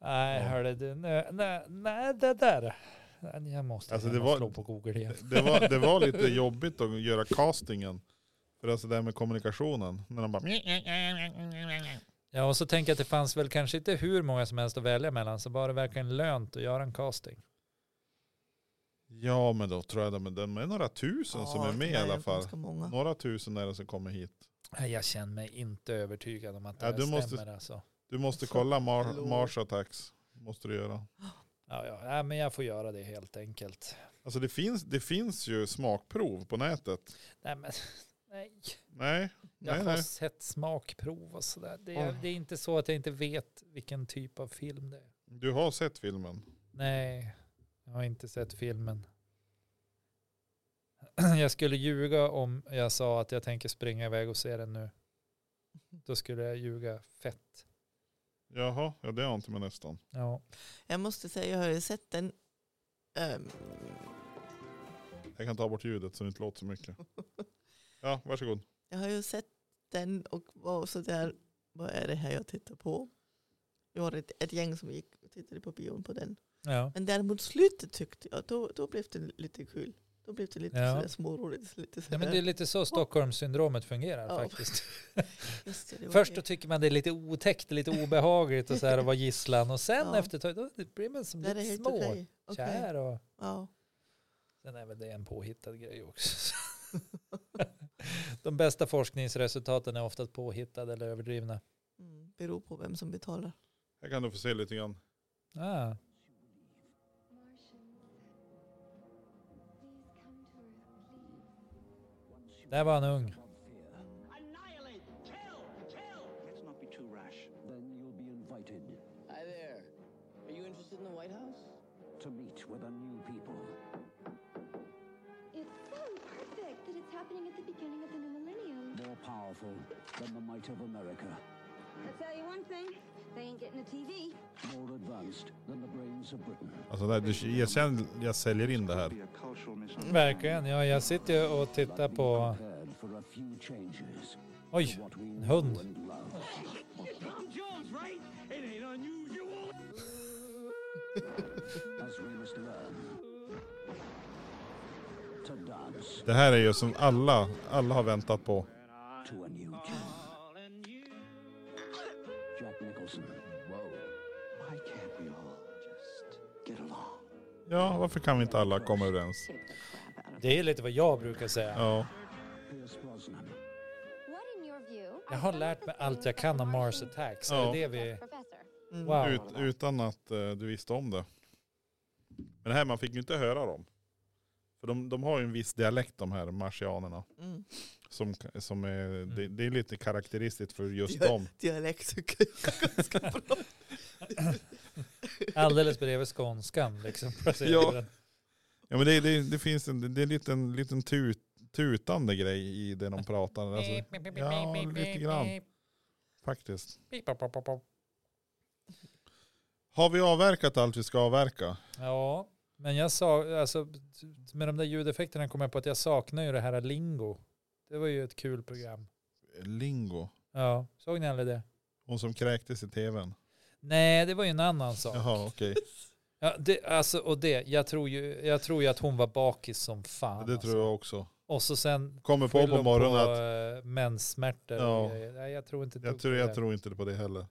Nej, Ja. hörde du. Nej, nej, nej det där. Nej, Jag måste Alltså, jag det måste var- slå på Google igen. Det var, det var lite jobbigt att göra castingen. För alltså det här med kommunikationen. När de bara... Ja, och så tänker jag att det fanns väl kanske inte hur många som helst att välja mellan, så var det verkligen lönt att göra en casting. Ja men då tror jag de, de är några tusen som Ja, är med de i alla ju fall. ganska många. Några tusen är det som kommer hit. Nej, Jag känner mig inte övertygad om att det Ja, här du måste- stämmer. Alltså. Du måste kolla Mar- Lord. Mars Attacks. Måste du göra. Ja, ja. Nej, men jag får göra det helt enkelt. Alltså det finns, det finns ju smakprov på nätet. Nej, men nej. Nej, Jag nej, har nej. sett smakprov och sådär. Det, är- Oj. det är inte så att jag inte vet vilken typ av film det är. Du har sett filmen. Nej, jag har inte sett filmen. Jag skulle ljuga om jag sa att jag tänker springa iväg och se den nu. Då skulle jag ljuga fett. Jaha, ja det har inte med nästan. Ja. Jag måste säga, jag har ju sett den. ehm, Jag kan ta bort ljudet så det inte låter så mycket. Ja, varsågod. jag har ju sett den och var sådär, vad är det här jag tittar på? Jag var ett, ett gäng som gick och tittade på bion på den. Ja. Men däremot slutet tyckte jag, då, då blev det lite kul. Då blev det lite Ja. sådär småroligt. Lite sådär. ja, men det är lite så Stockholmssyndromet fungerar Ja. faktiskt. Just det, det var Först det. då tycker man det är lite otäckt, lite obehagligt och så här att vara gisslan och sen Ja. efter ett tag då blir man som Nej, det är lite helt små. okej. Okej. Kär och Ja. sen är väl det en påhittad grej också. De bästa forskningsresultaten är oftast påhittade eller överdrivna. Mm, beror på vem som betalar. Här kan du få se lite grann. Ah. Där var han ung. Annihilate! Kill! Kill! Let's not be too rash. Then you'll be Hi there. Are you interested in the White House? to meet with a new people. It's so perfect that it's happening at the beginning of the new millennium. More powerful than the might of America. I'll tell you one thing, they ain't getting a TV. More advanced than the brains of Britain. Alltså där, du- jag, känner, jag säljer in det här. Verkligen. Ja, jag sitter ju och tittar på... Prepared for a few changes. Oj, What we en know hund. and love. As we must learn to dance Det här är ju som alla, alla har väntat på. to a new tune. Jack Nicholson. Whoa. Why can't we all just get along? Ja, varför kan vi inte alla komma överens? Det är lite vad jag brukar säga. Ja, Pierce Brosnan. What in your view? Jag har lärt mig allt jag kan om Mars Attacks. Ja. Är det vi... Professor. Mm. Wow. ut, utan att eh, du visste om det. Men det här, man fick ju inte höra dem. För de, de har ju en viss dialekt de här marsianerna. Mm. Som, som är, det, det är lite karaktäristiskt för just Ja. dem. Dialekt tycker jag är ganska bra. Alldeles bredvid skånskan liksom. placerar Ja. den. Ja men det, det, det finns en, det är en liten, liten tut, tutande grej i det de pratar. Alltså, ja, lite grann faktiskt. Har vi avverkat allt vi ska avverka? Ja, men jag sa, alltså med de där ljudeffekterna kom jag på att jag saknar ju det här lingo. Det var ju ett kul program. Lingo. Ja, såg ni aldrig det? Hon som kräktes i tvn. Nej, det var ju en annan sak. Jaha okej. Ja, det, alltså, och det, jag tror, ju, jag tror ju att hon var bakis som fan. Det alltså. tror jag också. Och så sen Kommer på skyller på hon morgonen på, att eh, menssmärtor Ja. och grejer. Nej, jag tror inte jag på tror, det. jag tror inte på det heller.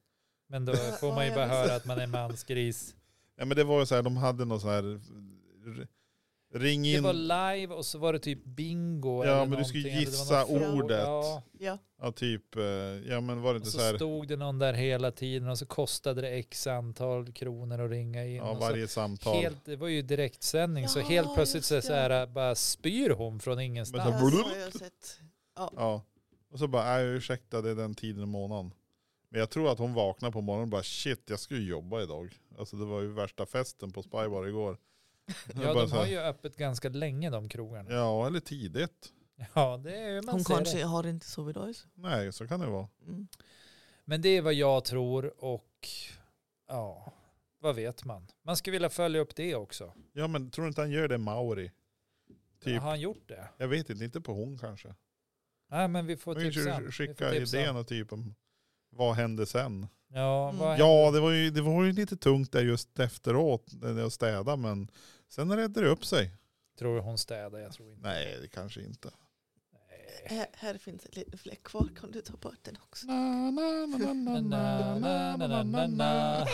Men då får man ju Ja, bara jag vet. höra att man är mansgris. Ja men det var ju så här, de hade någon sån här r- ring Det in. var live och så var det typ bingo. Ja, eller men du skulle någonting, eller det gissa var någon fråga. ordet. Ja, Ja, Ja typ, eh, ja men var det och inte så så här, stod det någon där hela tiden och så kostade det x antal kronor att ringa in. ja, och varje så samtal. helt, det var ju direktsändning så Ja, helt plötsligt så, just så här, äh, bara spyr hon från ingenstans. det Men här har Alltså, jag sett. Ja. Och så bara, äh, ursäkta det är den tiden i månaden. Men jag tror att hon vaknade på morgonen och bara shit jag ska ju jobba idag. Alltså det var ju värsta festen på Spybar igår. Ja, Jag bara de så här, har ju öppet ganska länge de krogarna. ja eller tidigt. Ja, det är ju man Hon ser kanske det. har inte sovit idag. Nej så kan det vara. Mm. Men det är vad jag tror och ja, vad vet man? Man skulle vilja följa upp det också. Ja men tror du inte han gör det Mauri? Typ, Har han gjort det? jag vet inte, inte på hon kanske. Nej, men vi får Man kan tipsa. ju han. Vi skicka får tipsa han. idén och typ om vad hände sen? Ja, Mm. vad Ja det var, ju, det var ju lite tungt där just efteråt när jag städade men sen redde det upp sig. tror du hon städar? Jag tror inte. Nej det kanske inte. Eh. Nej. Här, här finns en liten fläck kvar. Kan du ta bort den också? Na, na, na, na, na, eh, na, na, na, na, na.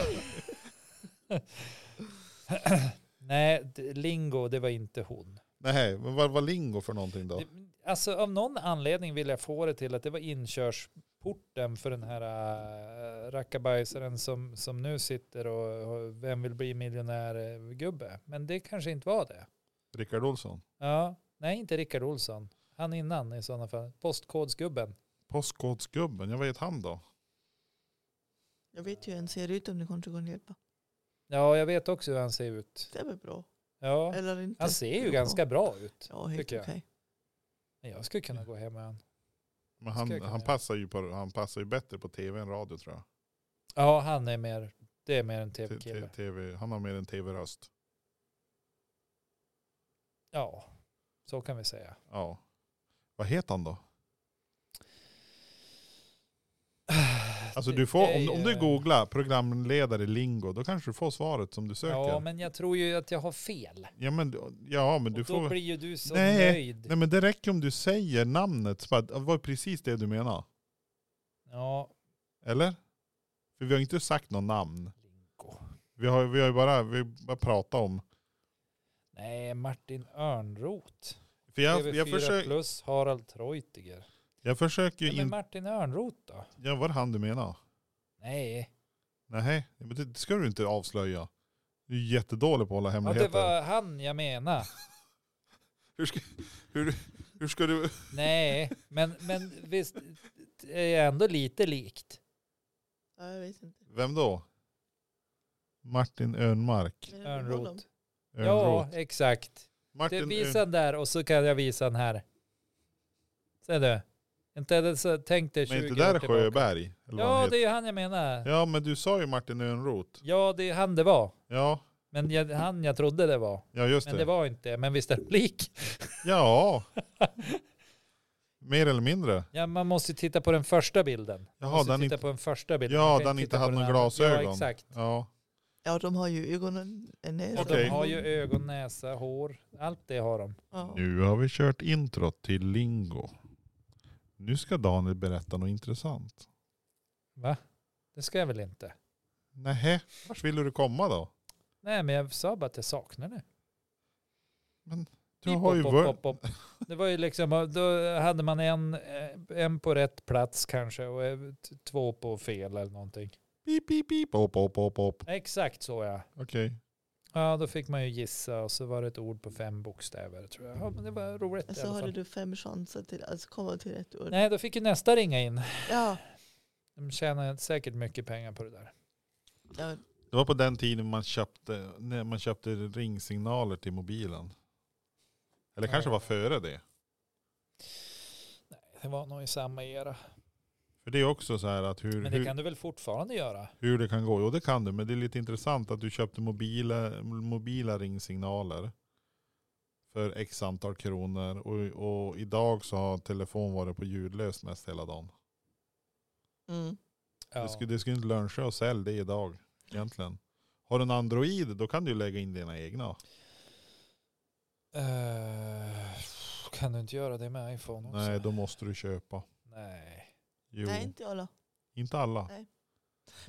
Nej, d- lingo, det var inte hon. Nej, men vad var lingo för någonting då? Det, alltså av någon anledning vill jag få det till att det var inkörsporten för den här äh, rackabajsaren som, som nu sitter och, och Vem vill bli miljonär-gubbe. Men det kanske inte var det. Rickard Olsson? Ja, nej, inte Rickard Olsson. Han innan i sådana fall. Postkodsgubben. Postkodsgubben, jag vet han då? Jag vet ju hur en ser ut om ni kanske kan hjälpa. Ja, jag vet också hur han ser ut. Det är väl bra? Ja, Eller inte? han ser ju Jo. ganska bra ut. Ja, helt tycker okej. jag. Men jag skulle kunna gå hem med han. Ska jag Men han, kunna han, göra. passar passar ju på, han passar ju bättre på tv än radio tror jag. Ja, han är mer, det är mer en typ T- t- tv-kille. TV, han har mer en tv-röst. Ja, så kan vi säga. Ja. Vad heter han då? Alltså Det- du får, det Typ. är om, om du ju- googlar programledare lingo, då kanske du får svaret som du söker. Ja, men jag tror ju att jag har fel. ja, men, ja, men du och då får... blir ju du så Nej, nöjd. Nej men det räcker om du säger namnet, så bara, det var precis det du menar. Ja, Eller? För vi har inte sagt något namn. Linko. Vi har, vi har ju bara, vi bara pratat om. Nej, Martin Örnroth. För jag, TV4 jag, försök, plus Harald Treutiger. jag försöker ju Nej, men inte... Martin Örnroth då? Ja, var det han du menar? Nej, Nej, men det, det ska du inte avslöja. Du är jättedålig på att hålla ja, det hemligheter. var han jag menar. hur, ska, hur, hur ska du... Nej, men, men visst det är ändå lite likt. Ja, jag vet inte. Vem då? Martin Örnmark. Örnrot. Ja, Örnroth. exakt. Du, Martin visa den Örn... där och så kan jag visa den här. Ser du? Inte det så, tänk dig 20 Men inte år där tillbaka. Sjöberg? Eller vad Ja, han det är heter. ju han jag menar. ja, men du sa ju Martin Örnroth. Ja, det är han det var. Ja, Men jag, han jag trodde det var. ja just Men det. det var inte. Men visst är det lik? Ja. Mer eller mindre. Ja, man måste ju titta på den första bilden. Man Jaha, måste den titta inte... på den första bilden. Man Ja, kan den inte titta på hade den några andra. glasögon. Ja, exakt. Ja. Ja, de har ju ögonen, en näsa. Och Okej. de har ju ögon, näsa, hår. Allt det har de. Ja. Nu har vi kört introt till Lingo. Nu ska Daniel berätta något intressant. Va? Det ska jag väl inte? Nähä, vart ville du komma då? Nej, men jag sa bara att jag saknar det. Du har ju Pop, vör- pop, pop, pop. Det var ju liksom, då hade man en, eh, en på rätt plats kanske och eh, t- två på fel eller någonting. Pip, pip, pip, pop, pop, pop, pop. Exakt så ja. Okej. Ja, då fick man ju gissa och så var det ett ord på fem bokstäver tror jag. Ja, men det var roligt i Så alla hade fall. Alltså, du fem chanser till att komma till rätt ord. Nej, då fick ju nästa ringa in. Ja, De tjänar säkert mycket pengar på det där. ja, Det var på den tiden man köpte, när man köpte ringsignaler till mobilen. Eller kanske Ja. var före det. Nej, det var nog i samma era. För det är också så här att hur, Men hur, det kan du väl fortfarande göra? hur det kan gå. Jo det kan du, men det är lite intressant att du köpte mobila, mobila ringsignaler för x antal kronor. Och, och idag så har telefon varit på ljudlöst mest hela dagen. mm. Ja. Det, skulle, det skulle inte löna sig att sälja det idag egentligen. Har du en Android då kan du lägga in dina egna. Eh, kan du inte göra det med iPhone också? Nej, då måste du köpa. Nej. Jo, Nej, inte alla. inte alla.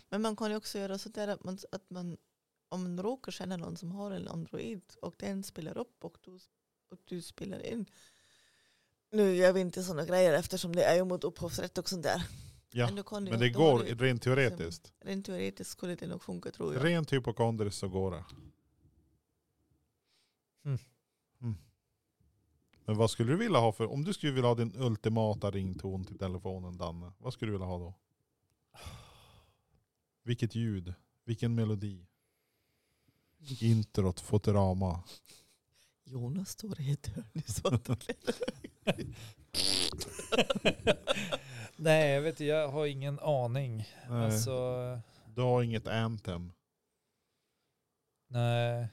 Men man kan ju också göra så där att man, att man om man råkar känna någon som har en Android och den spelar upp och du, och du spelar in. Nu gör vi inte sådana grejer eftersom det är ju mot upphovsrätt och sånt där. Ja, du kan ju- Men det då har går du ju- liksom rent teoretiskt. Rent teoretiskt skulle det nog funka tror jag. Rent hypokondriskt så går det. Mm. Mm. Men vad skulle du vilja ha för, om du skulle vilja ha din ultimata rington till telefonen Danne, vad skulle du vilja ha då? Vilket ljud, vilken melodi? Introt, Fotorama. Jonas står i ett hörn i svarta kläder. Nej, jag vet inte, jag har ingen aning. Nej, Alltså, Du har inget anthem. nej.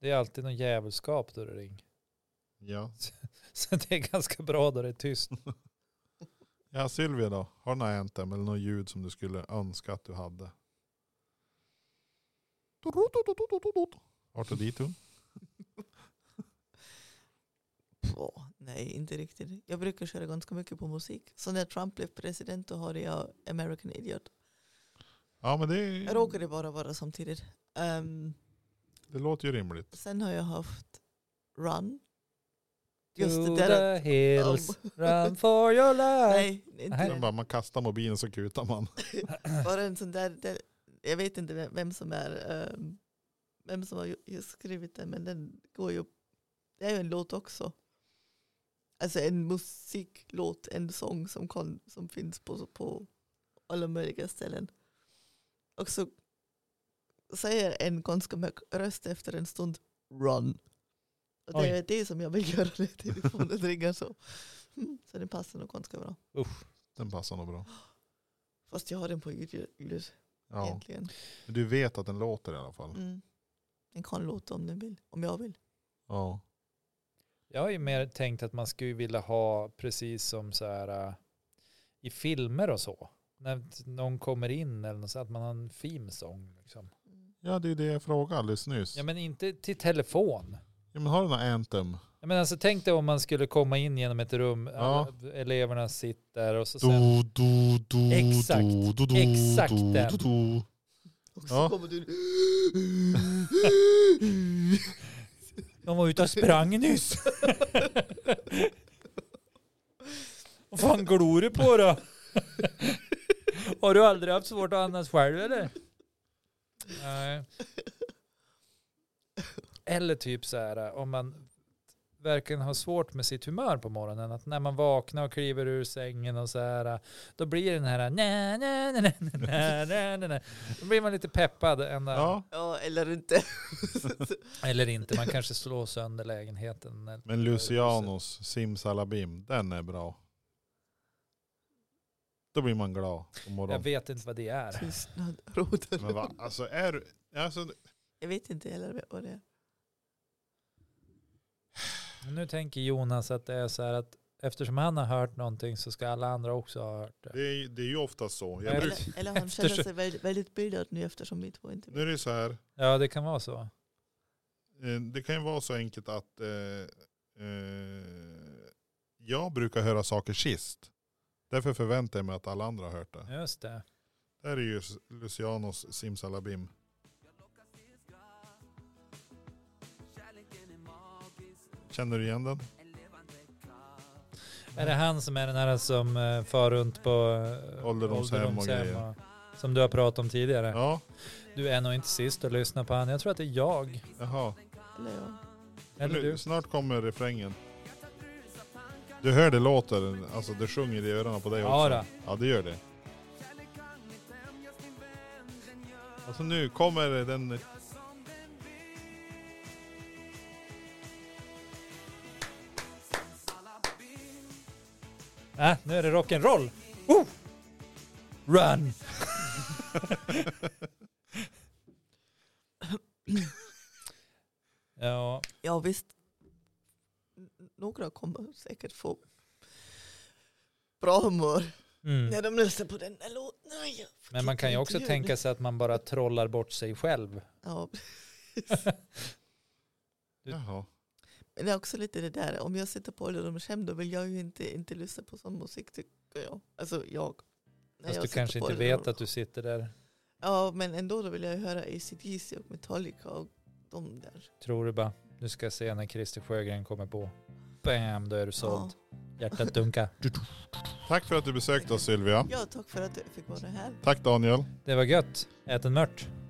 Det är alltid någon djävulskap då det ringer. Ja. Så det är ganska bra då det är tyst. ja, Sylvia då? Har du något anthem eller något ljud som du skulle önska att du hade? Artodito? På, nej, inte riktigt. Jag brukar köra ganska mycket på musik. Så när Trump blev president då hörde jag American Idiot. Ja men det, Jag råkade bara vara samtidigt. Ehm, det låter ju rimligt. sen har jag haft Run. Just Just det to där att- the hills, Om- run for your life. Nej, inte Nej. Sen den. bara man kastar mobilen så kutar man. Bara en sån där, där jag vet inte vem, vem som är ehm, vem som har ju- just skrivit den, men den går ju, det är ju en låt också. Alltså en musiklåt, en sång som, kon, som finns på, på alla möjliga ställen. Och så säger en ganska mörk röst efter en stund, run. Och det Oj. är det som jag vill göra när telefonen ringer så. Mm, Så den passar nog ganska bra. Den passar nog bra. Fast jag har den på ljud, ljud Ja. egentligen. Men Du vet att den låter i alla fall. Mm. Den kan låta om den vill, om jag vill. Ja. Jag har ju mer tänkt att man skulle vilja ha precis som så här äh, i filmer och så. När t- någon kommer in eller något så att man har en theme song. Liksom. ja det är det jag frågade alldeles nyss. Ja Ja, men inte till telefon. men har du något anthem? Ja, men alltså tänk dig om man skulle komma in genom ett rum, Ja. alla eleverna sitter och så sen, Du, du, du, Exakt. du, du, du, Exakt du, den. du, du. Och Ja. kommer du... de var ute och sprang nyss. Vad fan glor du på då? har du aldrig haft svårt att andas själv eller? Nej. Eller typ så här om man verkligen har svårt med sitt humör på morgonen. Att när man vaknar och kliver ur sängen och så här, då blir den här nä, nä, nä, nä, nä, nä, nä, nä. Då blir man lite peppad. Ända. Ja, Ja, eller inte. Eller inte, man kanske slår sönder lägenheten. eller- men Lucianos simsalabim, den är bra. Då blir man glad på Jag morgonen. vet inte vad det är. Tystnad råder. Men va? Alltså är du- alltså, Jag vet inte heller vad det är. Men Nu tänker Jonas att det är så här att eftersom han har hört någonting så ska alla andra också ha hört det. det, är, det är ju ofta så. Jag Nej, brukar, Eller, eller han känner sig väldigt, väldigt bildad nu eftersom vi två inte nu är det så här, Ja, det kan vara så. eh, det kan ju vara så enkelt att eh, eh, jag brukar höra saker sist. Därför förväntar jag mig att alla andra har hört det. Just det. Det här är ju Lucianos simsalabim. Känner du igen den? Är det han som är den här som eh, far runt på eh, Ålderdomshem och grejer. och- som du har pratat om tidigare? Ja, Du är nog inte sist att lyssna på han. Jag tror att det är jag. jaha. Eller ja. Eller nu, du. Snart kommer refrängen. Du hör det låter, alltså det sjunger i öronen på dig Ja, också. då. Ja, det gör det. Alltså nu kommer den... Ah, nu är det rock'n'roll. Oh! Run! ja, ja, visst. N- Några kommer säkert få bra humör mm. när de lyssnar på den här låten. Nej, men man kan ju också tänka sig att man bara trollar bort sig själv. Ja, Jaha. men det är också lite det där. Om jag sitter på ålderdomshem då vill jag ju inte, inte lyssna på sån musik tycker jag. Alltså jag. När Fast jag du sitter kanske på inte vet ålderdomshem. att du sitter där. Ja, men ändå då vill jag ju höra AC/DC och Metallica och de där. Tror du bara, nu ska jag se när Christer Sjögren kommer på. Bam, då är du såld. Hjärtat dunkar. Tack för att du besökte oss Sylvia. Ja, tack för att jag fick vara här. Tack Daniel. Det var gött. Ät en mört.